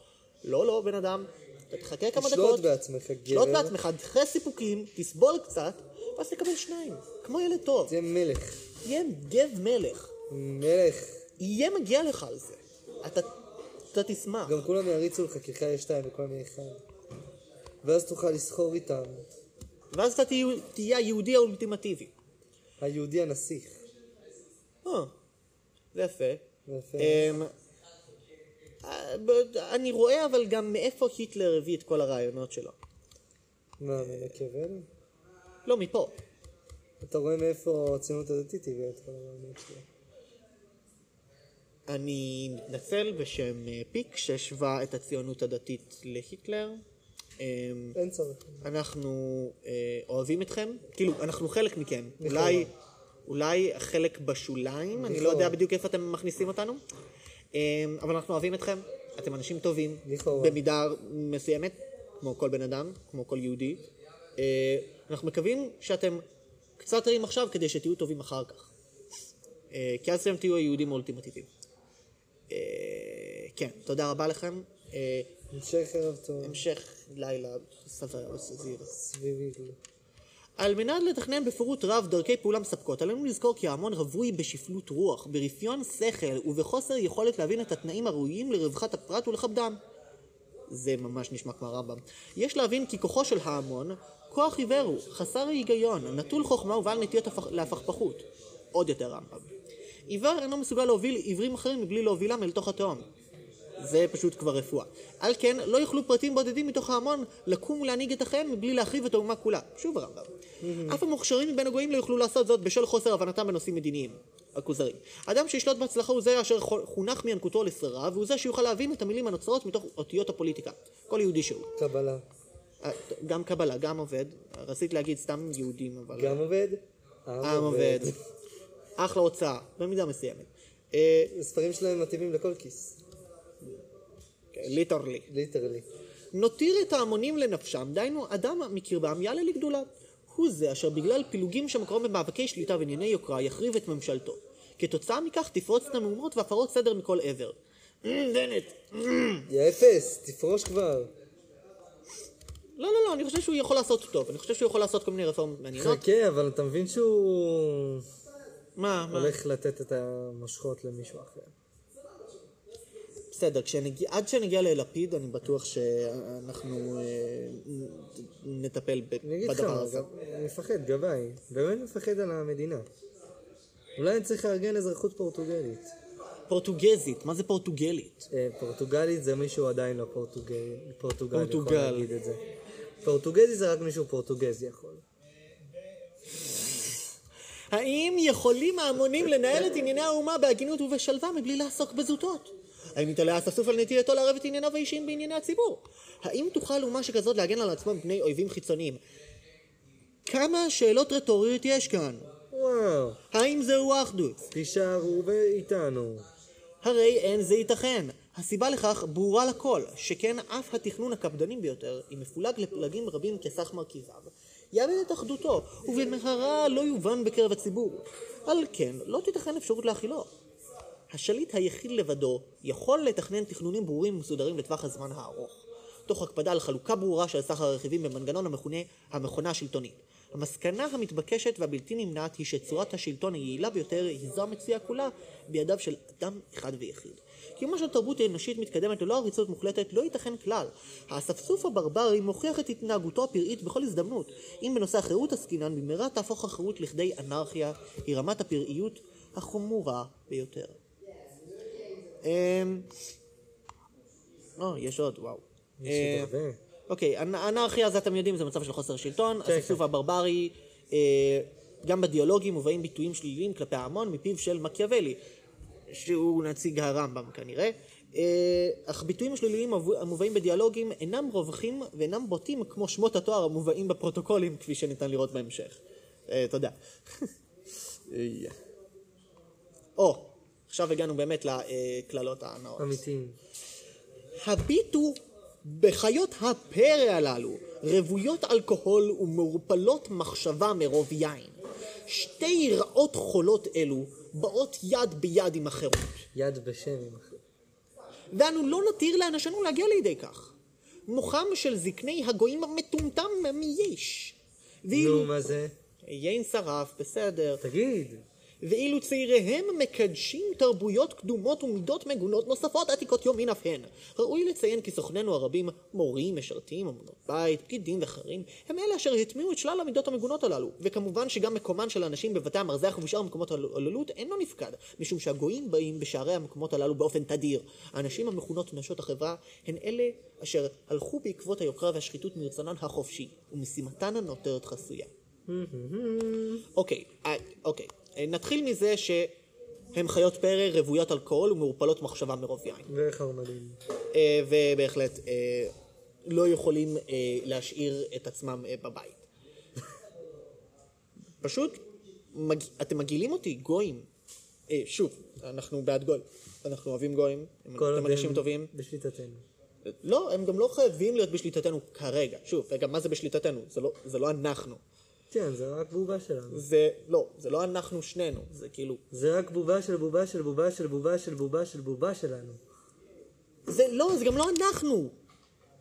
Speaker 2: לא, לא, בן אדם, אתה תחכה כמה
Speaker 3: תשלוט
Speaker 2: דקות,
Speaker 3: בעצמך,
Speaker 2: תשלוט
Speaker 3: גבר.
Speaker 2: בעצמך, תחכה סיפוקים, תסבול קצת, ואז תקבל שניים, כמו ילד טוב,
Speaker 3: זה מלך.
Speaker 2: תהיה גב מלך,
Speaker 3: מלך.
Speaker 2: יהיה מגיע לך על זה, אתה- אתה תשמח.
Speaker 3: גם כולם יריצו לך כי לך יש שתיים וכולם יהיה אחד. ואז תוכל לסחור איתם.
Speaker 2: ואז אתה תהיה, תהיה היהודי האולטימטיבי.
Speaker 3: היהודי הנסיך.
Speaker 2: אה, זה יפה.
Speaker 3: יפה.
Speaker 2: אמ, אה, ב- אני רואה אבל גם מאיפה היטלר הביא את כל הרעיונות שלו.
Speaker 3: מה, מנקבנו?
Speaker 2: לא, מפה.
Speaker 3: אתה רואה מאיפה הציונות הדתית הביאה את כל הרעיונות שלה.
Speaker 2: אני מתנצל בשם אה, פיק שהשווה את הציונות הדתית להיטלר. אמ,
Speaker 3: אין צורך.
Speaker 2: אנחנו אה, אוהבים אתכם, כאילו, אנחנו חלק מכם. אולי, אולי החלק בשוליים, אני לא
Speaker 3: לכאורה.
Speaker 2: יודע בדיוק איפה אתם מכניסים אותנו, אה, אבל אנחנו אוהבים אתכם, אתם אנשים טובים,
Speaker 3: לכאורה.
Speaker 2: במידה מסוימת, כמו כל בן אדם, כמו כל יהודי. אה, אנחנו מקווים שאתם קצת רעים עכשיו כדי שתהיו טובים אחר כך. אה, כי אז אתם תהיו היהודים האולטימטיביים. אה, כן, תודה רבה לכם. אה,
Speaker 3: המשך ערב טוב.
Speaker 2: המשך לילה סביר וסביר.
Speaker 3: סביבי.
Speaker 2: על מנת לתכנן בפירוט רב דרכי פעולה מספקות, עלינו לזכור כי ההמון רווי בשפלות רוח, ברפיון שכל ובחוסר יכולת להבין את התנאים הראויים לרווחת הפרט ולכבדם. זה ממש נשמע כמו הרמב"ם. יש להבין כי כוחו של ההמון, כוח עיוור הוא, חסר היגיון, נטול חוכמה ובעל נטיות הפח... להפכפכות. עוד יותר רמב"ם. עיוור אינו מסוגל להוביל עיוורים אחרים מבלי להובילם אל תוך התהום. זה פשוט כבר רפואה. על כן, לא יוכלו פרטים בודדים מתוך ההמון לקום ולהנהיג את החיים מבלי להחריב את האומה כולה. שוב הרמב"ם. אף המוכשרים מבין הגויים לא יוכלו לעשות זאת בשל חוסר הבנתם בנושאים מדיניים. הכוזרי. אדם שישלוט בהצלחה הוא זה אשר חו- חונך מינקותו לשררה, והוא זה שיוכל להבין את המילים הנוצרות מתוך אותיות הפוליטיקה. כל יהודי שהוא.
Speaker 3: קבלה.
Speaker 2: אה, גם קבלה, גם עובד. רציתי להגיד סתם יהודים, אבל...
Speaker 3: גם עובד?
Speaker 2: עם עובד. אחלה הוצאה, במידה מסוימת. אה,
Speaker 3: הספרים שלהם מתאימים לכל כיס.
Speaker 2: ליטרלי.
Speaker 3: ליטרלי.
Speaker 2: נותיר את ההמונים לנפשם, דהיינו אדם מקרבם יעלה לגדולה. הוא זה אשר בגלל פילוגים שמקורם במאבקי שליטה וענייני יוקרה יחריב את ממשלתו. כתוצאה מכך תפרוצנה מהומות והפרות סדר מכל עבר.
Speaker 3: Mm,
Speaker 2: אמ, בנט. אמ.
Speaker 3: יא אפס, תפרוש כבר.
Speaker 2: לא, לא, לא, אני חושב שהוא יכול לעשות טוב. אני חושב שהוא יכול לעשות כל מיני רפורמות מעניינות.
Speaker 3: חכה, אבל אתה מבין שהוא
Speaker 2: מה, מה?
Speaker 3: הולך לתת את המושכות למישהו אחר.
Speaker 2: בסדר, כשנגיע, עד שנגיע ללפיד, אני בטוח שאנחנו אה, נטפל ב-
Speaker 3: אני אגיד לך,
Speaker 2: בדבר הזה.
Speaker 3: גם- אני מפחד, גבאי. באמת מפחד על המדינה. אולי אני צריך לארגן אזרחות פורטוגלית.
Speaker 2: פורטוגזית, מה זה פורטוגלית?
Speaker 3: אה, פורטוגלית זה מישהו עדיין לא פורטוגלי, פורטוגל יכול
Speaker 2: פורטוגל.
Speaker 3: להגיד את זה. פורטוגזי זה רק מישהו פורטוגזי יכול.
Speaker 2: האם יכולים ההמונים לנהל את ענייני האומה בהגינות ובשלווה מבלי לעסוק בזוטות? האם יתעלה הספסוף על נטייתו לערב את ענייניו האישיים בענייני הציבור? האם תוכל אומה שכזאת להגן על עצמה מפני אויבים חיצוניים? כמה שאלות רטוריות יש כאן?
Speaker 3: וואו,
Speaker 2: האם זהו אחדות?
Speaker 3: תישארו ב- איתנו.
Speaker 2: הרי אין זה ייתכן. הסיבה לכך ברורה לכל, שכן אף התכנון הקפדני ביותר, אם מפולג לפלגים רבים כסך מרכיביו, יאבד את אחדותו, ובמהרה לא יובן בקרב הציבור. על כן, לא תיתכן אפשרות להכילו. השליט היחיד לבדו יכול לתכנן תכנונים ברורים ומסודרים לטווח הזמן הארוך, תוך הקפדה על חלוקה ברורה של סך הרכיבים במנגנון המכונה המכונה השלטונית. המסקנה המתבקשת והבלתי נמנעת היא שצורת השלטון היעילה ביותר היא זו המצויה כולה בידיו של אדם אחד ויחיד. קיומה של תרבות אנושית מתקדמת ללא עריצות מוחלטת לא ייתכן כלל. האספסוף הברברי מוכיח את התנהגותו הפראית בכל הזדמנות. אם בנושא החירות עסקינן, במהרה תהפוך החירות לכדי אנרכיה, היא רמת הפראיות החמורה ביותר. אמ... או, יש עוד, וואו.
Speaker 3: יש עוד
Speaker 2: אמ,
Speaker 3: הרבה.
Speaker 2: אוקיי, אנ- אנרכיה, זה אתם יודעים, זה מצב של חוסר שלטון, הספסוף הברברי, אה, גם בדיאלוגים מובאים ביטויים שליליים כלפי ההמון מפיו של מקיאוולי, שהוא נציג הרמב"ם כנראה, אה, אך ביטויים שליליים המובא- המובאים בדיאלוגים אינם רווחים ואינם בוטים כמו שמות התואר המובאים בפרוטוקולים, כפי שניתן לראות בהמשך. אה, תודה. איה. או, עכשיו הגענו באמת לקללות הנאות.
Speaker 3: אמיתיים.
Speaker 2: הביטו בחיות הפרא הללו, רוויות אלכוהול ומעורפלות מחשבה מרוב יין. שתי רעות חולות אלו באות יד ביד עם החירות,
Speaker 3: יד בשם. עם אח-
Speaker 2: ואנו לא נתיר לאנשינו להגיע לידי כך. מוחם של זקני הגויים המטומטם מייש. ואילו...
Speaker 3: נו, מה זה?
Speaker 2: יין שרף, בסדר.
Speaker 3: תגיד.
Speaker 2: ואילו צעיריהם מקדשים תרבויות קדומות ומידות מגונות נוספות עתיקות יומין אף הן. ראוי לציין כי סוכנינו הרבים, מורים, משרתים, אמנות בית, פקידים וחרים, הם אלה אשר הטמיעו את שלל המידות המגונות הללו. וכמובן שגם מקומן של הנשים בבתי המרזח ובשאר מקומות הוללות אינו נפקד, משום שהגויים באים בשערי המקומות הללו באופן תדיר. הנשים המכונות נשות החברה הן אלה אשר הלכו בעקבות היוקרה והשחיתות מרצונן החופשי, ומשימתן הנותרת חסויה. אוקיי, אה, אוקיי. אה, נתחיל מזה שהם חיות פרא, רוויות אלכוהול ומעורפלות מחשבה מרוב יין.
Speaker 3: וחרמנים.
Speaker 2: אה, ובהחלט אה, לא יכולים אה, להשאיר את עצמם אה, בבית. פשוט, מג... אתם מגעילים אותי, גויים. אה, שוב, אנחנו בעד גויים. אנחנו אוהבים גויים, הם
Speaker 3: כל עוד
Speaker 2: אתם אנשים
Speaker 3: הם
Speaker 2: טובים.
Speaker 3: בשליטתנו.
Speaker 2: לא, הם גם לא חייבים להיות בשליטתנו כרגע. שוב, וגם מה זה בשליטתנו? זה לא, זה לא אנחנו.
Speaker 3: כן, זה רק בובה שלנו.
Speaker 2: זה, לא, זה לא אנחנו שנינו. זה כאילו,
Speaker 3: זה רק בובה של בובה של בובה של בובה של בובה של בובה שלנו.
Speaker 2: זה לא, זה גם לא אנחנו.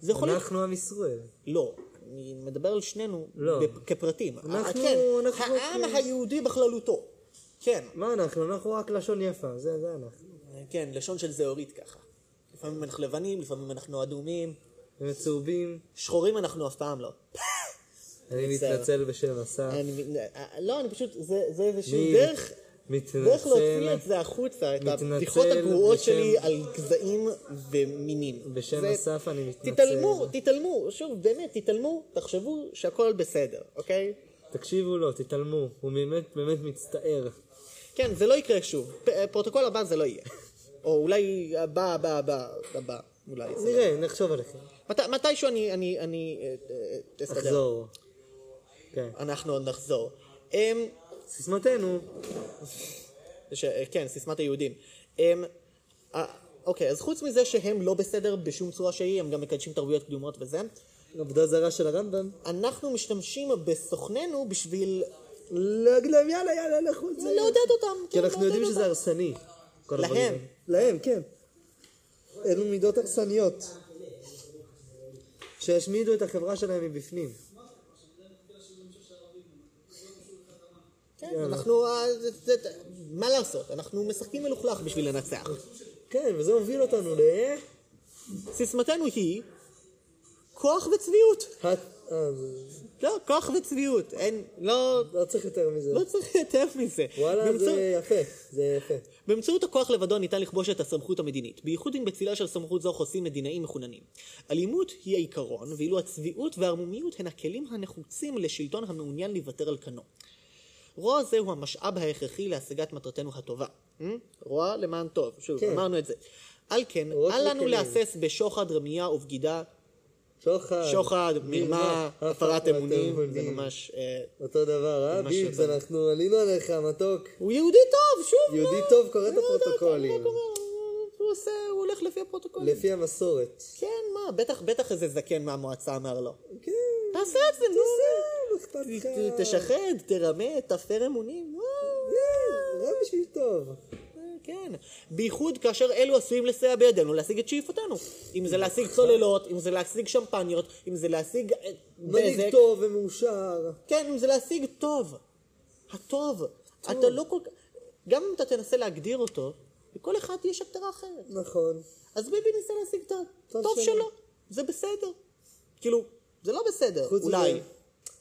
Speaker 2: זה יכול להיות...
Speaker 3: אנחנו עם ישראל.
Speaker 2: לא, אני מדבר על שנינו
Speaker 3: לא.
Speaker 2: בפ- כפרטים.
Speaker 3: אנחנו-
Speaker 2: אה, כן,
Speaker 3: אנחנו-
Speaker 2: העם היהודי בכללותו. כן,
Speaker 3: מה אנחנו? אנחנו רק לשון יפה, זה זה אנחנו.
Speaker 2: כן, לשון של זהורית ככה. לפעמים אנחנו לבנים, לפעמים אנחנו אדומים.
Speaker 3: הם צהובים.
Speaker 2: שחורים אנחנו אף פעם לא.
Speaker 3: אני
Speaker 2: בסדר.
Speaker 3: מתנצל בשם השר.
Speaker 2: אני, אה, לא, אני פשוט, זה, זה איזושהי
Speaker 3: מי-
Speaker 2: דרך, דרך להוציא את
Speaker 3: מתנצל
Speaker 2: זה החוצה, את
Speaker 3: מתנצל
Speaker 2: הבדיחות הגרועות
Speaker 3: בשם-
Speaker 2: שלי על גזעים ומינים.
Speaker 3: בשם
Speaker 2: זה-
Speaker 3: אסף אני מתנצל.
Speaker 2: תתעלמו, תתעלמו, שוב, באמת, תתעלמו, תחשבו שהכל בסדר, אוקיי?
Speaker 3: תקשיבו לו, תתעלמו. הוא באמת באמת מצטער.
Speaker 2: כן, זה לא יקרה שוב. פ- אה, פרוטוקול הבא זה לא יהיה. או אולי הבא, הבא, הבא, הבא, אולי. זה לא.
Speaker 3: נראה, נחשוב עליכם.
Speaker 2: מת- מתישהו אני, אני, אני, אה, אה, אסתדר.
Speaker 3: נחזור. כן.
Speaker 2: אנחנו עוד נחזור. אמ,
Speaker 3: סיסמתנו.
Speaker 2: ש- אה, כן, סיסמת היהודים. הם, אה, אוקיי, אז חוץ מזה שהם לא בסדר בשום צורה שהיא, הם גם מקדשים תרבויות קדומות וזה,
Speaker 3: עבודה זרה של הרמב"ם.
Speaker 2: אנחנו משתמשים בסוכננו בשביל
Speaker 3: להגיד להם יאללה יאללה לכו את זה.
Speaker 2: לעודד אותם.
Speaker 3: כי
Speaker 2: כן,
Speaker 3: אנחנו
Speaker 2: לעודד
Speaker 3: יודעים
Speaker 2: אותם.
Speaker 3: שזה הרסני. כל
Speaker 2: להם.
Speaker 3: הדברים האלה. להם, כן. אלו מידות הרסניות. שישמידו את החברה שלהם מבפנים.
Speaker 2: כן, אנחנו, אה, זה- זה- זה- מה לעשות, אנחנו משחקים מלוכלך בשביל לנצח.
Speaker 3: כן, וזה הוביל אותנו ל...
Speaker 2: סיסמתנו היא כוח וצביעות.
Speaker 3: ה- אה, זה-
Speaker 2: לא, כוח וצביעות. אין, לא,
Speaker 3: לא צריך יותר מזה.
Speaker 2: לא צריך יותר מזה.
Speaker 3: וואלה,
Speaker 2: באמצעות-
Speaker 3: זה יפה. זה יפה.
Speaker 2: באמצעות הכוח לבדו ניתן לכבוש את הסמכות המדינית, בייחוד אם בצילה של סמכות זו חוסים מדינאים מחוננים. אלימות היא העיקרון, ואילו הצביעות והערמומיות הן הכלים הנחוצים לשלטון המעוניין לוותר על כנו. רוע זה הוא המשאב ההכרחי להשגת מטרתנו הטובה. אמ? רוע למען טוב, שוב,
Speaker 3: כן.
Speaker 2: אמרנו את זה. על כן,
Speaker 3: רעות
Speaker 2: אל לנו
Speaker 3: וכלים.
Speaker 2: להסס בשוחד, רמייה ובגידה,
Speaker 3: שוחד.
Speaker 2: שוחד, מרמה, הפרת אמונים, זה ממש... אה,
Speaker 3: אותו דבר, אה?
Speaker 2: ממש
Speaker 3: ביבס,
Speaker 2: אותו דבר.
Speaker 3: אנחנו עלינו עליך, מתוק.
Speaker 2: הוא יהודי טוב, שוב!
Speaker 3: יהודי
Speaker 2: מה?
Speaker 3: טוב, קורא את
Speaker 2: לא יודעת,
Speaker 3: הפרוטוקולים.
Speaker 2: אני לא קורא, הוא- הוא עושה, הוא הולך לפי הפרוטוקולים.
Speaker 3: לפי המסורת.
Speaker 2: כן, מה, בטח, בטח איזה זקן מהמועצה אמר לו.
Speaker 3: כן,
Speaker 2: תעשה את זה, נו.
Speaker 3: לא אכפת לך.
Speaker 2: ת- תשחד, תרמה, תפר אמונים, וואו.
Speaker 3: כן, רק בשביל טוב.
Speaker 2: כן. בייחוד כאשר אלו עשויים לסייע בידינו להשיג את שאיפותינו. אם זה להשיג צוללות, אם זה להשיג שמפניות, אם זה להשיג אה,
Speaker 3: מנהיג
Speaker 2: בזק.
Speaker 3: טוב ומאושר.
Speaker 2: כן, אם זה להשיג טוב. הטוב. אתה לא כל כך... גם אם אתה תנסה להגדיר אותו, לכל אחד יש הגדרה אחרת.
Speaker 3: נכון.
Speaker 2: אז ביבי ניסה להשיג את הטוב
Speaker 3: שלו.
Speaker 2: שלו, זה בסדר. כאילו, זה לא בסדר,
Speaker 3: חוץ
Speaker 2: אולי.
Speaker 3: מזה,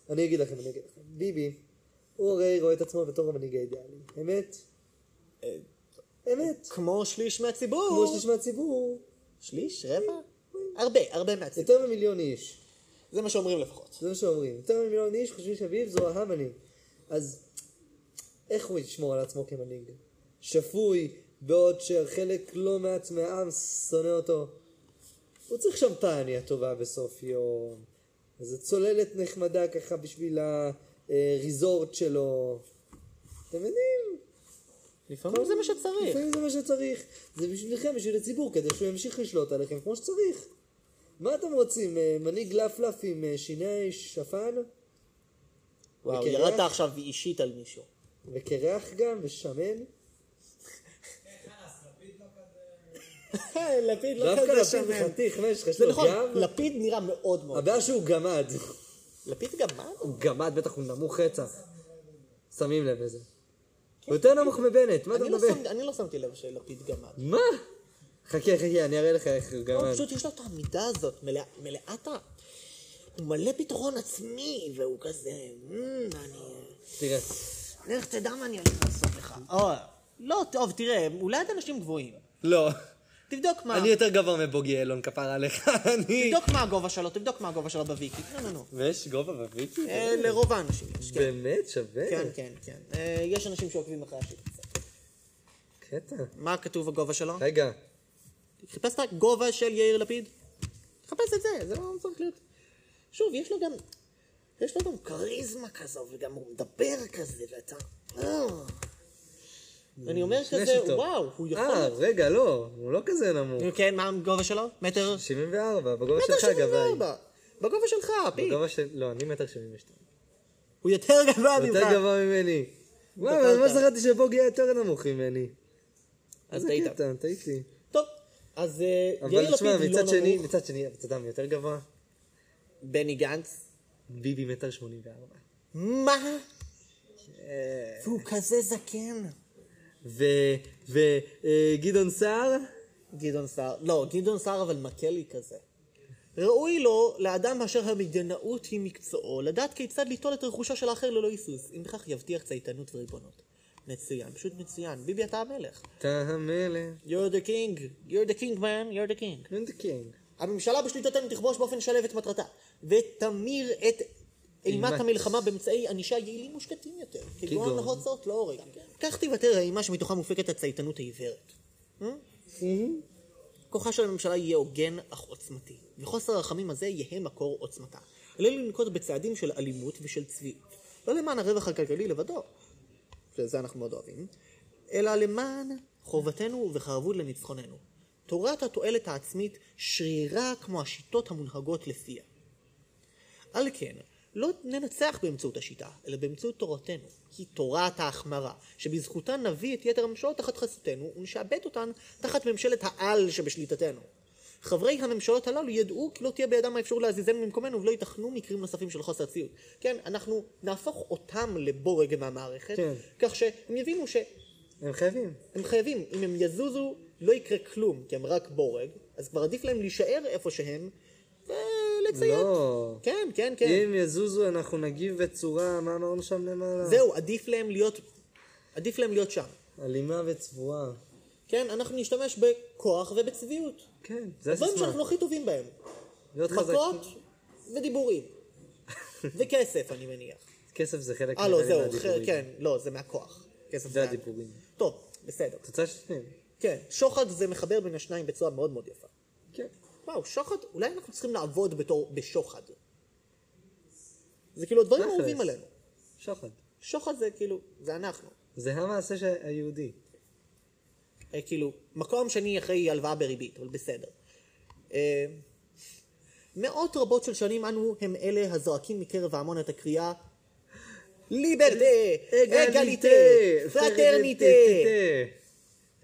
Speaker 3: אני אגיד לכם, אני אגיד לכם. ביבי, הוא הרי רואה את עצמו בתור המנהיג האידיאלי. אמת? אמת.
Speaker 2: כמו שליש מהציבור.
Speaker 3: כמו שליש מהציבור,
Speaker 2: שליש? רבע? הרבה, הרבה מהציבור.
Speaker 3: יותר ממיליון איש.
Speaker 2: זה מה שאומרים לפחות.
Speaker 3: זה מה שאומרים. יותר ממיליון איש חושבים שביבס הוא המנהיג. אז איך הוא ישמור על עצמו כמנהיג? שפוי, בעוד שחלק לא מעט מהעם שונא אותו. הוא צריך שמפניה טובה בסוף יום. איזו צוללת נחמדה ככה בשביל הריזורט שלו. אתם יודעים?
Speaker 2: לפעמים זה מה שצריך.
Speaker 3: לפעמים זה מה שצריך. זה בשבילכם, בשביל הציבור, כדי שהוא ימשיך לשלוט עליכם כמו שצריך. מה אתם רוצים? אה, מנהיג לפלף עם אה, שיני שפן?
Speaker 2: וואו,
Speaker 3: וקרח?
Speaker 2: ירדת עכשיו אישית על מישהו.
Speaker 3: וקרח גם, ושמן?
Speaker 2: לפיד לא
Speaker 3: דווקא
Speaker 2: כזה
Speaker 3: לפיד
Speaker 2: שמן.
Speaker 3: חתיך, מה יש לך? יש
Speaker 2: זה
Speaker 3: לו
Speaker 2: נכון,
Speaker 3: גב?
Speaker 2: לפיד נראה מאוד מאוד.
Speaker 3: הבעיה שהוא גמד.
Speaker 2: לפיד גם מה?
Speaker 3: הוא גמד, בטח הוא נמוך רצח. שמים לב לזה. הוא יותר נמוך מבנט, מה אתה
Speaker 2: אני לא
Speaker 3: מדבר?
Speaker 2: שמתי- אני לא שמתי לב שלפיד גמד.
Speaker 3: מה? חכה, חכה, אני אראה לך איך הוא
Speaker 2: לא,
Speaker 3: גמד.
Speaker 2: פשוט יש לו את העמידה הזאת, מלא- מלאת ה... הוא מלא ביטחון עצמי, והוא כזה, "אמ, אני...
Speaker 3: תראה.
Speaker 2: לך תדע מה אני הולך לעשות לך. או, לא, טוב, תראה, אולי את אנשים גבוהים.
Speaker 3: לא,
Speaker 2: תבדוק מה...
Speaker 3: אני יותר גבוה מבוגי אלון, כפרה עליך, אני...
Speaker 2: תבדוק מה הגובה שלו, תבדוק מה הגובה שלו בוויקי. לא, לא, לא.
Speaker 3: ויש גובה בוויקי?
Speaker 2: אה, לרוב האנשים יש, כן.
Speaker 3: באמת שווה?
Speaker 2: כן, כן, כן. אה, יש אנשים שעוקבים אחרי השיר.
Speaker 3: קטע.
Speaker 2: מה כתוב הגובה שלו?
Speaker 3: רגע,
Speaker 2: חיפש את הגובה של יאיר לפיד? תחפש את זה, זה לא צריך להיות. שוב, יש לו גם, יש לו גם כריזמה כזו, וגם הוא מדבר כזה, ואתה... אה. אני אומר
Speaker 3: נשנש
Speaker 2: כזה,
Speaker 3: איתו.
Speaker 2: וואו, הוא יכול...
Speaker 3: אה, רגע, לא, הוא לא כזה נמוך.
Speaker 2: כן, מה הגובה שלו? מטר?
Speaker 3: 74, בגובה
Speaker 2: מטר
Speaker 3: שלך גבאי.
Speaker 2: 74. בגובה שלך, פי.
Speaker 3: בגובה של... לא, אני מטר 72.
Speaker 2: הוא יותר גבוה
Speaker 3: יותר
Speaker 2: ממך.
Speaker 3: גבוה ממני. וואו,
Speaker 2: דקה,
Speaker 3: אבל מה
Speaker 2: דקה.
Speaker 3: זכרתי שבוגי היה יותר נמוך ממני.
Speaker 2: אז
Speaker 3: איזה
Speaker 2: טעית.
Speaker 3: קטע, טעיתי.
Speaker 2: טוב, אז אה, יאיר
Speaker 3: אבל
Speaker 2: לפיד
Speaker 3: תשמע,
Speaker 2: לא
Speaker 3: מצד שני,
Speaker 2: נמוך.
Speaker 3: מצד שני, אתה יודע מי יותר גבוה?
Speaker 2: בני גנץ.
Speaker 3: ביבי מטר 84.
Speaker 2: מה?
Speaker 3: כן.
Speaker 2: והוא כזה זקן.
Speaker 3: וגדעון אה, סער?
Speaker 2: גדעון סער, לא, גדעון סער אבל מקלי כזה. ראוי לו, לאדם אשר המדינאות היא מקצועו, לדעת כיצד ליטול את רכושו של האחר ללא היסוס, אם בכך יבטיח צייתנות וריבונות. מצוין, פשוט מצוין. ביבי, אתה המלך.
Speaker 3: אתה המלך.
Speaker 2: You're the king, you're the king man, you're the king.
Speaker 3: And the king.
Speaker 2: הממשלה בשליטתנו תכבוש באופן שלב את מטרתה, ותמיר את אימת
Speaker 3: אימת.
Speaker 2: המלחמה באמצעי ענישה יעילים מושקטים יותר, כגון
Speaker 3: כגון?
Speaker 2: הוצאות להורג. כך תיוותר האימה שמתוכה מופקת הצייתנות העיוורת. אה? כוחה של הממשלה יהיה הוגן אך עוצמתי, וחוסר הרחמים הזה יהא מקור עוצמתה. עלינו לנקוט בצעדים של אלימות ושל צביעות, לא למען הרווח הכלכלי לבדו, שזה אנחנו מאוד אוהבים, אלא למען חובתנו ובחרבות לניצחוננו. תורת התועלת העצמית שרירה כמו השיטות המונהגות לפיה. על כן, לא ננצח באמצעות השיטה, אלא באמצעות תורתנו. היא תורת ההחמרה, שבזכותה נביא את יתר הממשלות תחת חסותנו, ונשעבד אותן תחת ממשלת העל שבשליטתנו. חברי הממשלות הללו ידעו כי לא תהיה בידם האפשרות להזיזנו ממקומנו ולא ייתכנו מקרים נוספים של חוסר ציות. כן, אנחנו נהפוך אותם לבורג מהמערכת,
Speaker 3: כן.
Speaker 2: כך שהם יבינו שהם
Speaker 3: הם חייבים.
Speaker 2: חייבים, אם הם יזוזו לא יקרה כלום, כי הם רק בורג, אז כבר עדיף להם להישאר איפה שהם ולציית.
Speaker 3: לא.
Speaker 2: כן, כן, כן.
Speaker 3: אם יזוזו, אנחנו נגיב בצורה, מה אמרנו שם למעלה?
Speaker 2: זהו, עדיף להם להיות, עדיף להם להיות שם.
Speaker 3: אלימה וצבועה.
Speaker 2: כן, אנחנו נשתמש בכוח ובצביעות.
Speaker 3: כן, זה
Speaker 2: הדברים
Speaker 3: הסיסמה.
Speaker 2: שאנחנו הכי טובים בהם.
Speaker 3: להיות
Speaker 2: מכות
Speaker 3: חזקים.
Speaker 2: ודיבורים. וכסף, אני מניח.
Speaker 3: כסף זה חלק
Speaker 2: אה, לא,
Speaker 3: מהדיבורים.
Speaker 2: זהו, ח- כן, לא, זה מהכוח. כסף
Speaker 3: זה
Speaker 2: מה-
Speaker 3: הדיבורים.
Speaker 2: טוב, בסדר.
Speaker 3: תוצאה שניהם.
Speaker 2: כן, שוחד זה מחבר בין השניים בצורה מאוד מאוד יפה.
Speaker 3: כן.
Speaker 2: וואו, שוחד, אולי אנחנו צריכים לעבוד בתור, בשוחד. זה כאילו הדברים
Speaker 3: תכלס.
Speaker 2: האהובים עלינו.
Speaker 3: שוחד.
Speaker 2: שוחד זה כאילו, זה אנחנו.
Speaker 3: זה המעשה שה- היהודי.
Speaker 2: אה, כאילו, מקום שני אחרי הלוואה בריבית, אבל בסדר. אה, מאות רבות של שנים אנו הם אלה הזועקים מקרב ההמון את הקריאה ליברטה, אגליטה, פרטרניטה,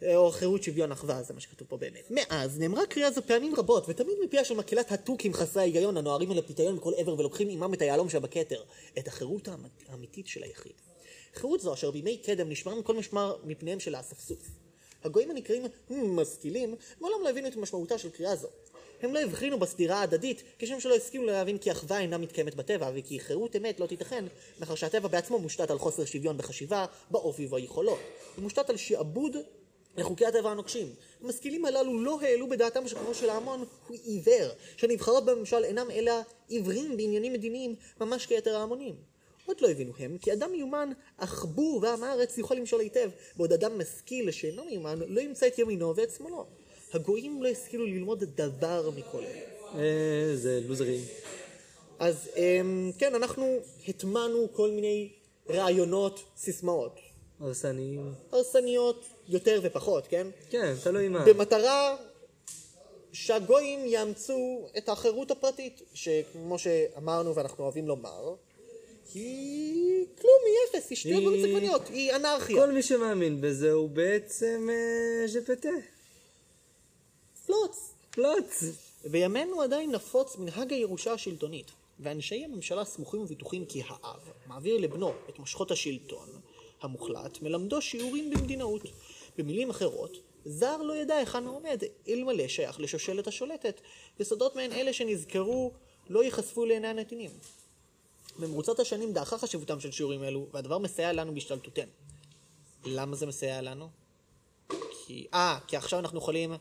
Speaker 2: אה, או חירות שוויון אחווה, זה מה שכתוב פה באמת. מאז נאמרה קריאה זו פעמים רבות, ותמיד מפיה של מקהלת התוכים חסרי ההיגיון הנוהרים אל הפיתיון מכל עבר ולוקחים עמם את היהלום שבכתר, את החירות האמ- האמיתית של היחיד. חירות זו אשר בימי קדם נשמר מכל משמר מפניהם של האספסוף. הגויים הנקראים משכילים, מעולם לא הבינו את משמעותה של קריאה זו. הם לא הבחינו בסתירה ההדדית, כשם שלא השכילו להבין כי אחווה אינה מתקיימת בטבע, וכי חירות אמת לא תיתכן, מאחר שהטבע בעצמו מושתת על חוסר שוויון בחשיבה, באופי וביכולות. הוא מושתת על שעבוד לחוקי הטבע הנוקשים. המשכילים הללו לא העלו בדעתם שכוחו של ההמון הוא עיוור, שנבחרות בממשל אינם אלא עיוורים בעניינים מדיניים, ממש כיתר ההמונים. עוד לא הבינו הם, כי אדם מיומן, אך בור ועם הארץ יוכל למשול היטב, בעוד אדם משכיל שאינו מיומן, לא ימצא את ימינו ואת שמאלו. הגויים לא השכילו ללמוד דבר מכל אלה.
Speaker 3: אה, זה לוזרים.
Speaker 2: אז אמ, כן, אנחנו הטמענו כל מיני רעיונות, סיסמאות.
Speaker 3: הרסניים.
Speaker 2: הרסניות יותר ופחות, כן?
Speaker 3: כן, תלוי מה.
Speaker 2: במטרה שהגויים יאמצו את החירות הפרטית, שכמו שאמרנו ואנחנו אוהבים לומר, היא כלום, היא אפס, היא שטויות
Speaker 3: היא-
Speaker 2: במיץ עגבניות, היא אנרכיה.
Speaker 3: כל מי שמאמין בזה הוא בעצם אה, ז'פטה.
Speaker 2: פלוץ.
Speaker 3: פלוץ.
Speaker 2: בימינו עדיין נפוץ מנהג הירושה השלטונית, ואנשי הממשלה סמוכים ובטוחים כי האב מעביר לבנו את מושכות השלטון המוחלט, מלמדו שיעורים במדינאות. במילים אחרות, זר לא ידע היכן הוא עומד, אלמלא שייך לשושלת השולטת. יסודות מעין אלה שנזכרו לא ייחשפו לעיני הנתינים. במרוצת השנים דעכה חשיבותם של שיעורים אלו, והדבר מסייע לנו בהשתלטותנו. למה זה מסייע לנו? כי... אה, כי עכשיו אנחנו יכולים...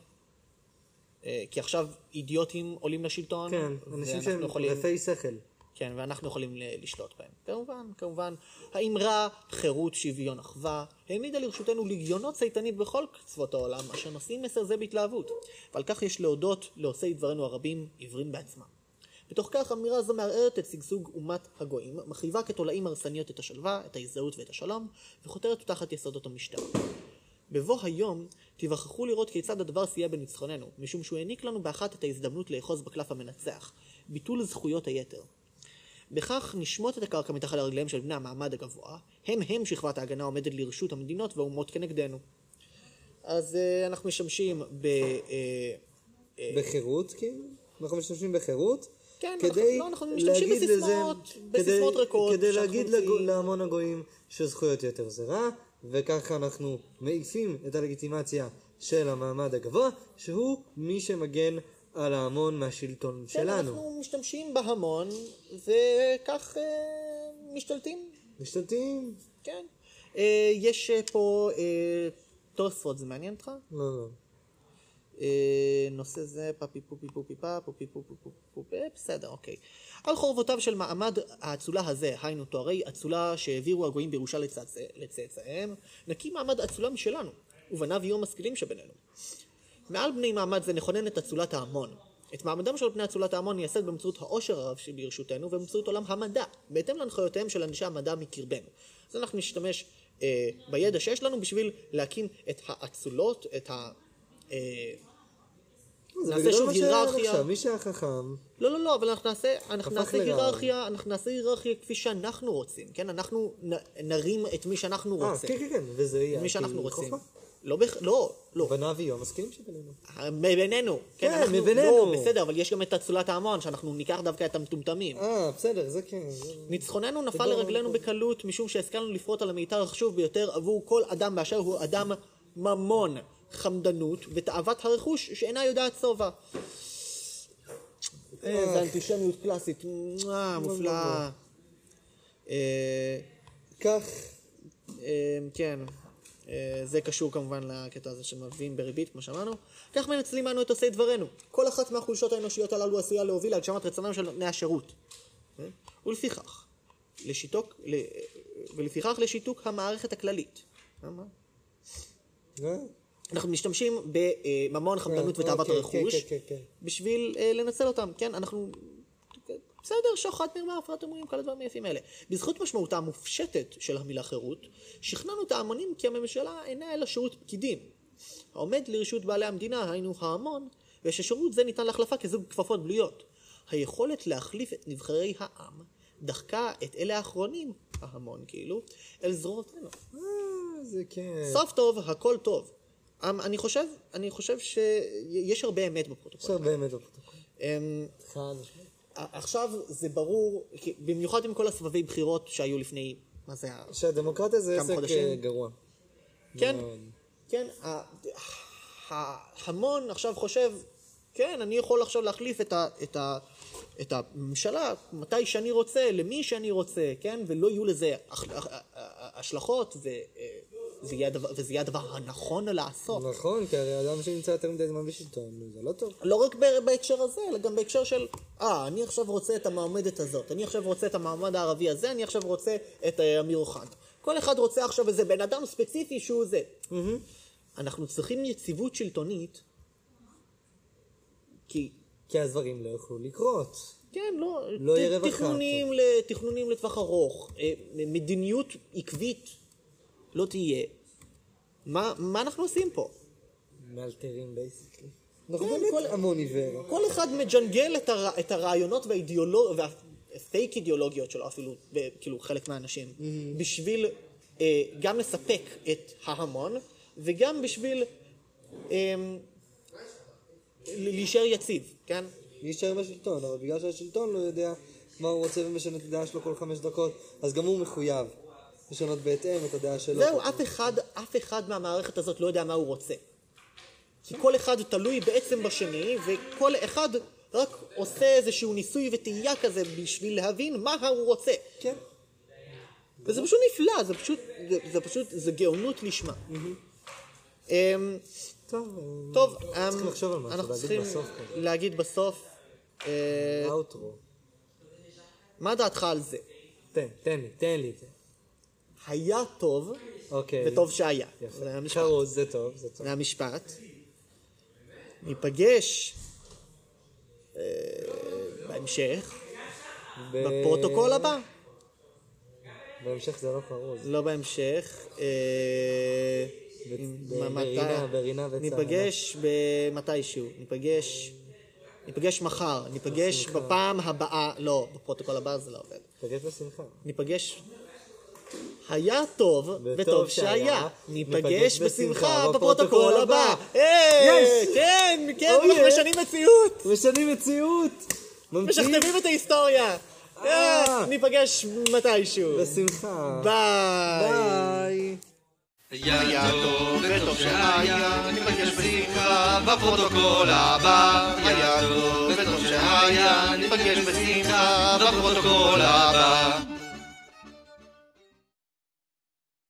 Speaker 2: אה, כי עכשיו אידיוטים עולים לשלטון,
Speaker 3: כן, אנשים
Speaker 2: ואנחנו
Speaker 3: שהם
Speaker 2: נכון. יכולים...
Speaker 3: רפי שכל.
Speaker 2: כן, ואנחנו יכולים ל- לשלוט בהם. כמובן, כמובן, האמרה חירות, שוויון, אחווה, העמידה לרשותנו לגיונות צייתנית בכל קצוות העולם, אשר נושאים מסר זה בהתלהבות. ועל כך יש להודות לעושי דברינו הרבים, עיוורים בעצמם. בתוך כך אמירה זו מערערת את שגשוג אומת הגויים, מחריבה כתולעים הרסניות את השלווה, את ההזדהות ואת השלום, וחותרת אותה תחת יסודות המשטר. בבוא היום תיווכחו לראות כיצד הדבר סייע בניצחוננו, משום שהוא העניק לנו באחת את ההזדמנות לאחוז בקלף המנצח, ביטול זכויות היתר. בכך נשמוט את הקרקע מתחת לרגליהם של בני המעמד הגבוה, הם הם שכבת ההגנה העומדת לרשות המדינות והאומות כנגדנו. אז אה, אנחנו משמשים ב... אה,
Speaker 3: בחירות, כאילו? אנחנו משתמשים בחירות?
Speaker 2: כן,
Speaker 3: כדי
Speaker 2: אנחנו- לא, אנחנו משתמשים
Speaker 3: להגיד לזה-
Speaker 2: בסיסמאות,
Speaker 3: כדי-
Speaker 2: בסיסמאות ריקות,
Speaker 3: כדי
Speaker 2: שאנחנו
Speaker 3: להגיד
Speaker 2: מוציאים.
Speaker 3: לגו- להמון הגויים שזכויות יתר זה רע, וככה אנחנו מעיפים את הלגיטימציה של המעמד הגבוה, שהוא מי שמגן על ההמון מהשלטון
Speaker 2: כן,
Speaker 3: שלנו.
Speaker 2: אנחנו משתמשים בהמון, וכך אה, משתלטים
Speaker 3: משתלטים?
Speaker 2: כן. אה, יש אה, פה אה, תוספות, זה מעניין אותך?
Speaker 3: לא, לא.
Speaker 2: אה, נושא זה פאפי פופי פופי פא, פופי פופי פופי פופי, אה, בסדר, אוקיי. על חורבותיו של מעמד האצולה הזה, היינו תוארי אצולה שהעבירו הגויים בירושה לצאצא- לצאצאיהם, נקים מעמד אצולה משלנו, ובניו יהיו המשכילים שבינינו. מעל בני מעמד זה נכונן את אצולת ההמון. את מעמדם של בני אצולת ההמון נייסד באמצעות העושר הרב שברשותנו ובאמצעות עולם המדע, בהתאם להנחיותיהם של אנשי המדע מקרבנו. אז אנחנו נשתמש אה, בידע שיש לנו בשביל להקים את האצולות, את ה... אה,
Speaker 3: זה
Speaker 2: נעשה
Speaker 3: בגדול
Speaker 2: שוב
Speaker 3: מה שהיה עד
Speaker 2: היררכיה.
Speaker 3: עכשיו, מי שהיה חכם,
Speaker 2: לא, לא, לא, אבל אנחנו נעשה, אנחנו
Speaker 3: הפך
Speaker 2: נעשה
Speaker 3: לרעל.
Speaker 2: היררכיה, אנחנו נעשה היררכיה כפי שאנחנו רוצים, כן? אנחנו נ, נרים את מי שאנחנו
Speaker 3: אה,
Speaker 2: רוצים.
Speaker 3: כן, כן, כן, וזה יהיה,
Speaker 2: מי שאנחנו
Speaker 3: כאילו,
Speaker 2: רוצים.
Speaker 3: חוכמה.
Speaker 2: לא, בכ- לא, לא.
Speaker 3: בניו יהיו המשכילים שבינינו.
Speaker 2: מבינינו.
Speaker 3: כן,
Speaker 2: אנחנו,
Speaker 3: מבינינו.
Speaker 2: לא, בסדר, אבל יש גם את אצולת ההמון, שאנחנו ניקח דווקא את המטומטמים.
Speaker 3: אה, בסדר, זה כן. זה-
Speaker 2: ניצחוננו נפל לרגלינו בקלות, משום שהשכלנו לפרוט על המיתר החשוב ביותר עבור כל אדם באשר הוא אדם ממון, חמדנות ותאוות הרכוש שאינה יודעת שובע. אה, זה אנטישמיות קלאסית, מואה, מופלאה. אה,
Speaker 3: כך,
Speaker 2: אה, כן, אה, זה קשור כמובן לקטע הזה שמביאים בריבית, כמו שאמרנו. כך מנצלים אנו את עושי דברנו. כל אחת מהחולשות האנושיות הללו עשויה להוביל להגשמת רצונם של נותני השירות. אה? ולפיכך, לשיתוק, ל- אה, ולפיכך לשיתוק המערכת הכללית. אה, מה?
Speaker 3: אה?
Speaker 2: אנחנו משתמשים בממון, חמדנות
Speaker 3: אה,
Speaker 2: ותאוות
Speaker 3: אוקיי,
Speaker 2: הרכוש,
Speaker 3: כן, כן, כן, כן.
Speaker 2: בשביל אה, לנצל אותם, כן? אנחנו... בסדר, שוחד, מרמה, הפרעת אמונים, כל הדברים היפים האלה. בזכות משמעותה המופשטת של המילה חירות, שכנענו את ההמונים כי הממשלה אינה אלא שירות פקידים. העומד לרשות בעלי המדינה, היינו ההמון, וששירות זה ניתן להחלפה כזוג כפפות בלויות. היכולת להחליף את נבחרי העם דחקה את אלה האחרונים, ההמון כאילו, אל זרועותינו.
Speaker 3: אה, זה כן.
Speaker 2: סוף טוב, הכל טוב. אמ, אני חושב, אני חושב שיש הרבה אמת בפרוטוקול.
Speaker 3: עכשיו באמת בפרוטוקול.
Speaker 2: אמ,
Speaker 3: חד משמעית.
Speaker 2: עכשיו זה ברור, כי- במיוחד עם כל הסבבי בחירות שהיו לפני, מה זה היה?
Speaker 3: שהדמוקרטיה זה
Speaker 2: כמה
Speaker 3: עסק
Speaker 2: חודשים?
Speaker 3: אה, גרוע.
Speaker 2: כן, כן, ה- ההמון עכשיו חושב, כן, אני יכול עכשיו להחליף את, ה, את, ה, את הממשלה מתי שאני רוצה, למי שאני רוצה, כן, ולא יהיו לזה הח- הח- השלכות ו... אה, זה יהיה הדבר- וזה יהיה הדבר הנכון לעשות.
Speaker 3: נכון, כי הרי אדם שנמצא יותר מדי זמן בשלטון, זה לא טוב.
Speaker 2: לא רק ב- בהקשר הזה, אלא גם בהקשר של, אה, אני עכשיו רוצה את המועמדת הזאת, אני עכשיו רוצה את המעמד הערבי הזה, אני עכשיו רוצה את אה, אמיר אוחנה. כל אחד רוצה עכשיו איזה בן אדם ספציפי שהוא זה. מהמם. אנחנו צריכים יציבות שלטונית, כי,
Speaker 3: כי הדברים לא יוכלו לקרות.
Speaker 2: כן, לא,
Speaker 3: לא
Speaker 2: ת-
Speaker 3: יהיה רווחה. כן.
Speaker 2: תכנונים, ל- תכנונים לטווח ארוך, אה, מדיניות עקבית לא תהיה. מה, מה אנחנו עושים פה?
Speaker 3: מאלתרים בייסיקלי. אנחנו באמת המון עיוור.
Speaker 2: כן, כל אחד מג'נגל את, הר... את הרעיונות והאידיאולוג... והפייק אידיאולוגיות שלו אפילו, ב- כאילו חלק מהאנשים, mm-hmm. בשביל אה, גם לספק את ההמון, וגם בשביל אה, להישאר יציב, כן?
Speaker 3: להישאר בשלטון, אבל בגלל שהשלטון לא יודע מה הוא רוצה ומשנה את הדעה שלו כל חמש דקות, אז גם הוא מחויב לשנות בהתאם את הדעה שלו.
Speaker 2: זהו, אף אחד, אף אחד מהמערכת הזאת לא יודע מה הוא רוצה. כי כל אחד תלוי בעצם בשני, וכל אחד רק עושה איזשהו ניסוי וטעייה כזה בשביל להבין מה הוא רוצה.
Speaker 3: כן.
Speaker 2: וזה פשוט נפלא, זה פשוט, זה, זה פשוט, זה גאונות לשמה. אמ,
Speaker 3: טוב,
Speaker 2: טוב,
Speaker 3: אה, צריכים
Speaker 2: אמ,
Speaker 3: לחשוב על משהו,
Speaker 2: אנחנו
Speaker 3: להגיד
Speaker 2: צריכים
Speaker 3: בסוף כן. כזה.
Speaker 2: להגיד בסוף, אה,
Speaker 3: אאוטרו.
Speaker 2: מה דעתך על זה?
Speaker 3: תן, תן לי, תן לי. תן.
Speaker 2: היה טוב,
Speaker 3: אוקיי.
Speaker 2: וטוב שהיה.
Speaker 3: יפה.
Speaker 2: זה המשפט.
Speaker 3: חרוז, זה טוב, זה טוב.
Speaker 2: זה המשפט. ניפגש אה, בהמשך,
Speaker 3: ב-
Speaker 2: בפרוטוקול הבא.
Speaker 3: בהמשך זה לא חרוז.
Speaker 2: לא בהמשך. אה,
Speaker 3: ב-
Speaker 2: עם-
Speaker 3: ב-
Speaker 2: מה- מתי-
Speaker 3: ברינה- ברינה וצהלה.
Speaker 2: ניפגש במתישהו, ניפגש, ניפגש מחר, ניפגש בפעם הבאה, לא, בפרוטוקול הבא זה לא עובד.
Speaker 3: תגיד בשמחה.
Speaker 2: ניפגש, היה טוב וטוב שהיה, ניפגש בשמחה בפרוטוקול הבא. היי,
Speaker 3: Yes!
Speaker 2: כן, כן,
Speaker 3: Oh
Speaker 2: אנחנו
Speaker 3: yeah.
Speaker 2: משנים מציאות,
Speaker 3: משנים מציאות! ממציאים
Speaker 2: משכתבים את ההיסטוריה.
Speaker 3: אה.
Speaker 2: אה, ניפגש מתישהו.
Speaker 3: בשמחה.
Speaker 2: ביי.
Speaker 3: ביי.
Speaker 1: היה טוב וטוב שהיה, ניפגש בשמחה בפרוטוקול הבא. היה טוב וטוב שהיה, ניפגש בשמחה בפרוטוקול הבא.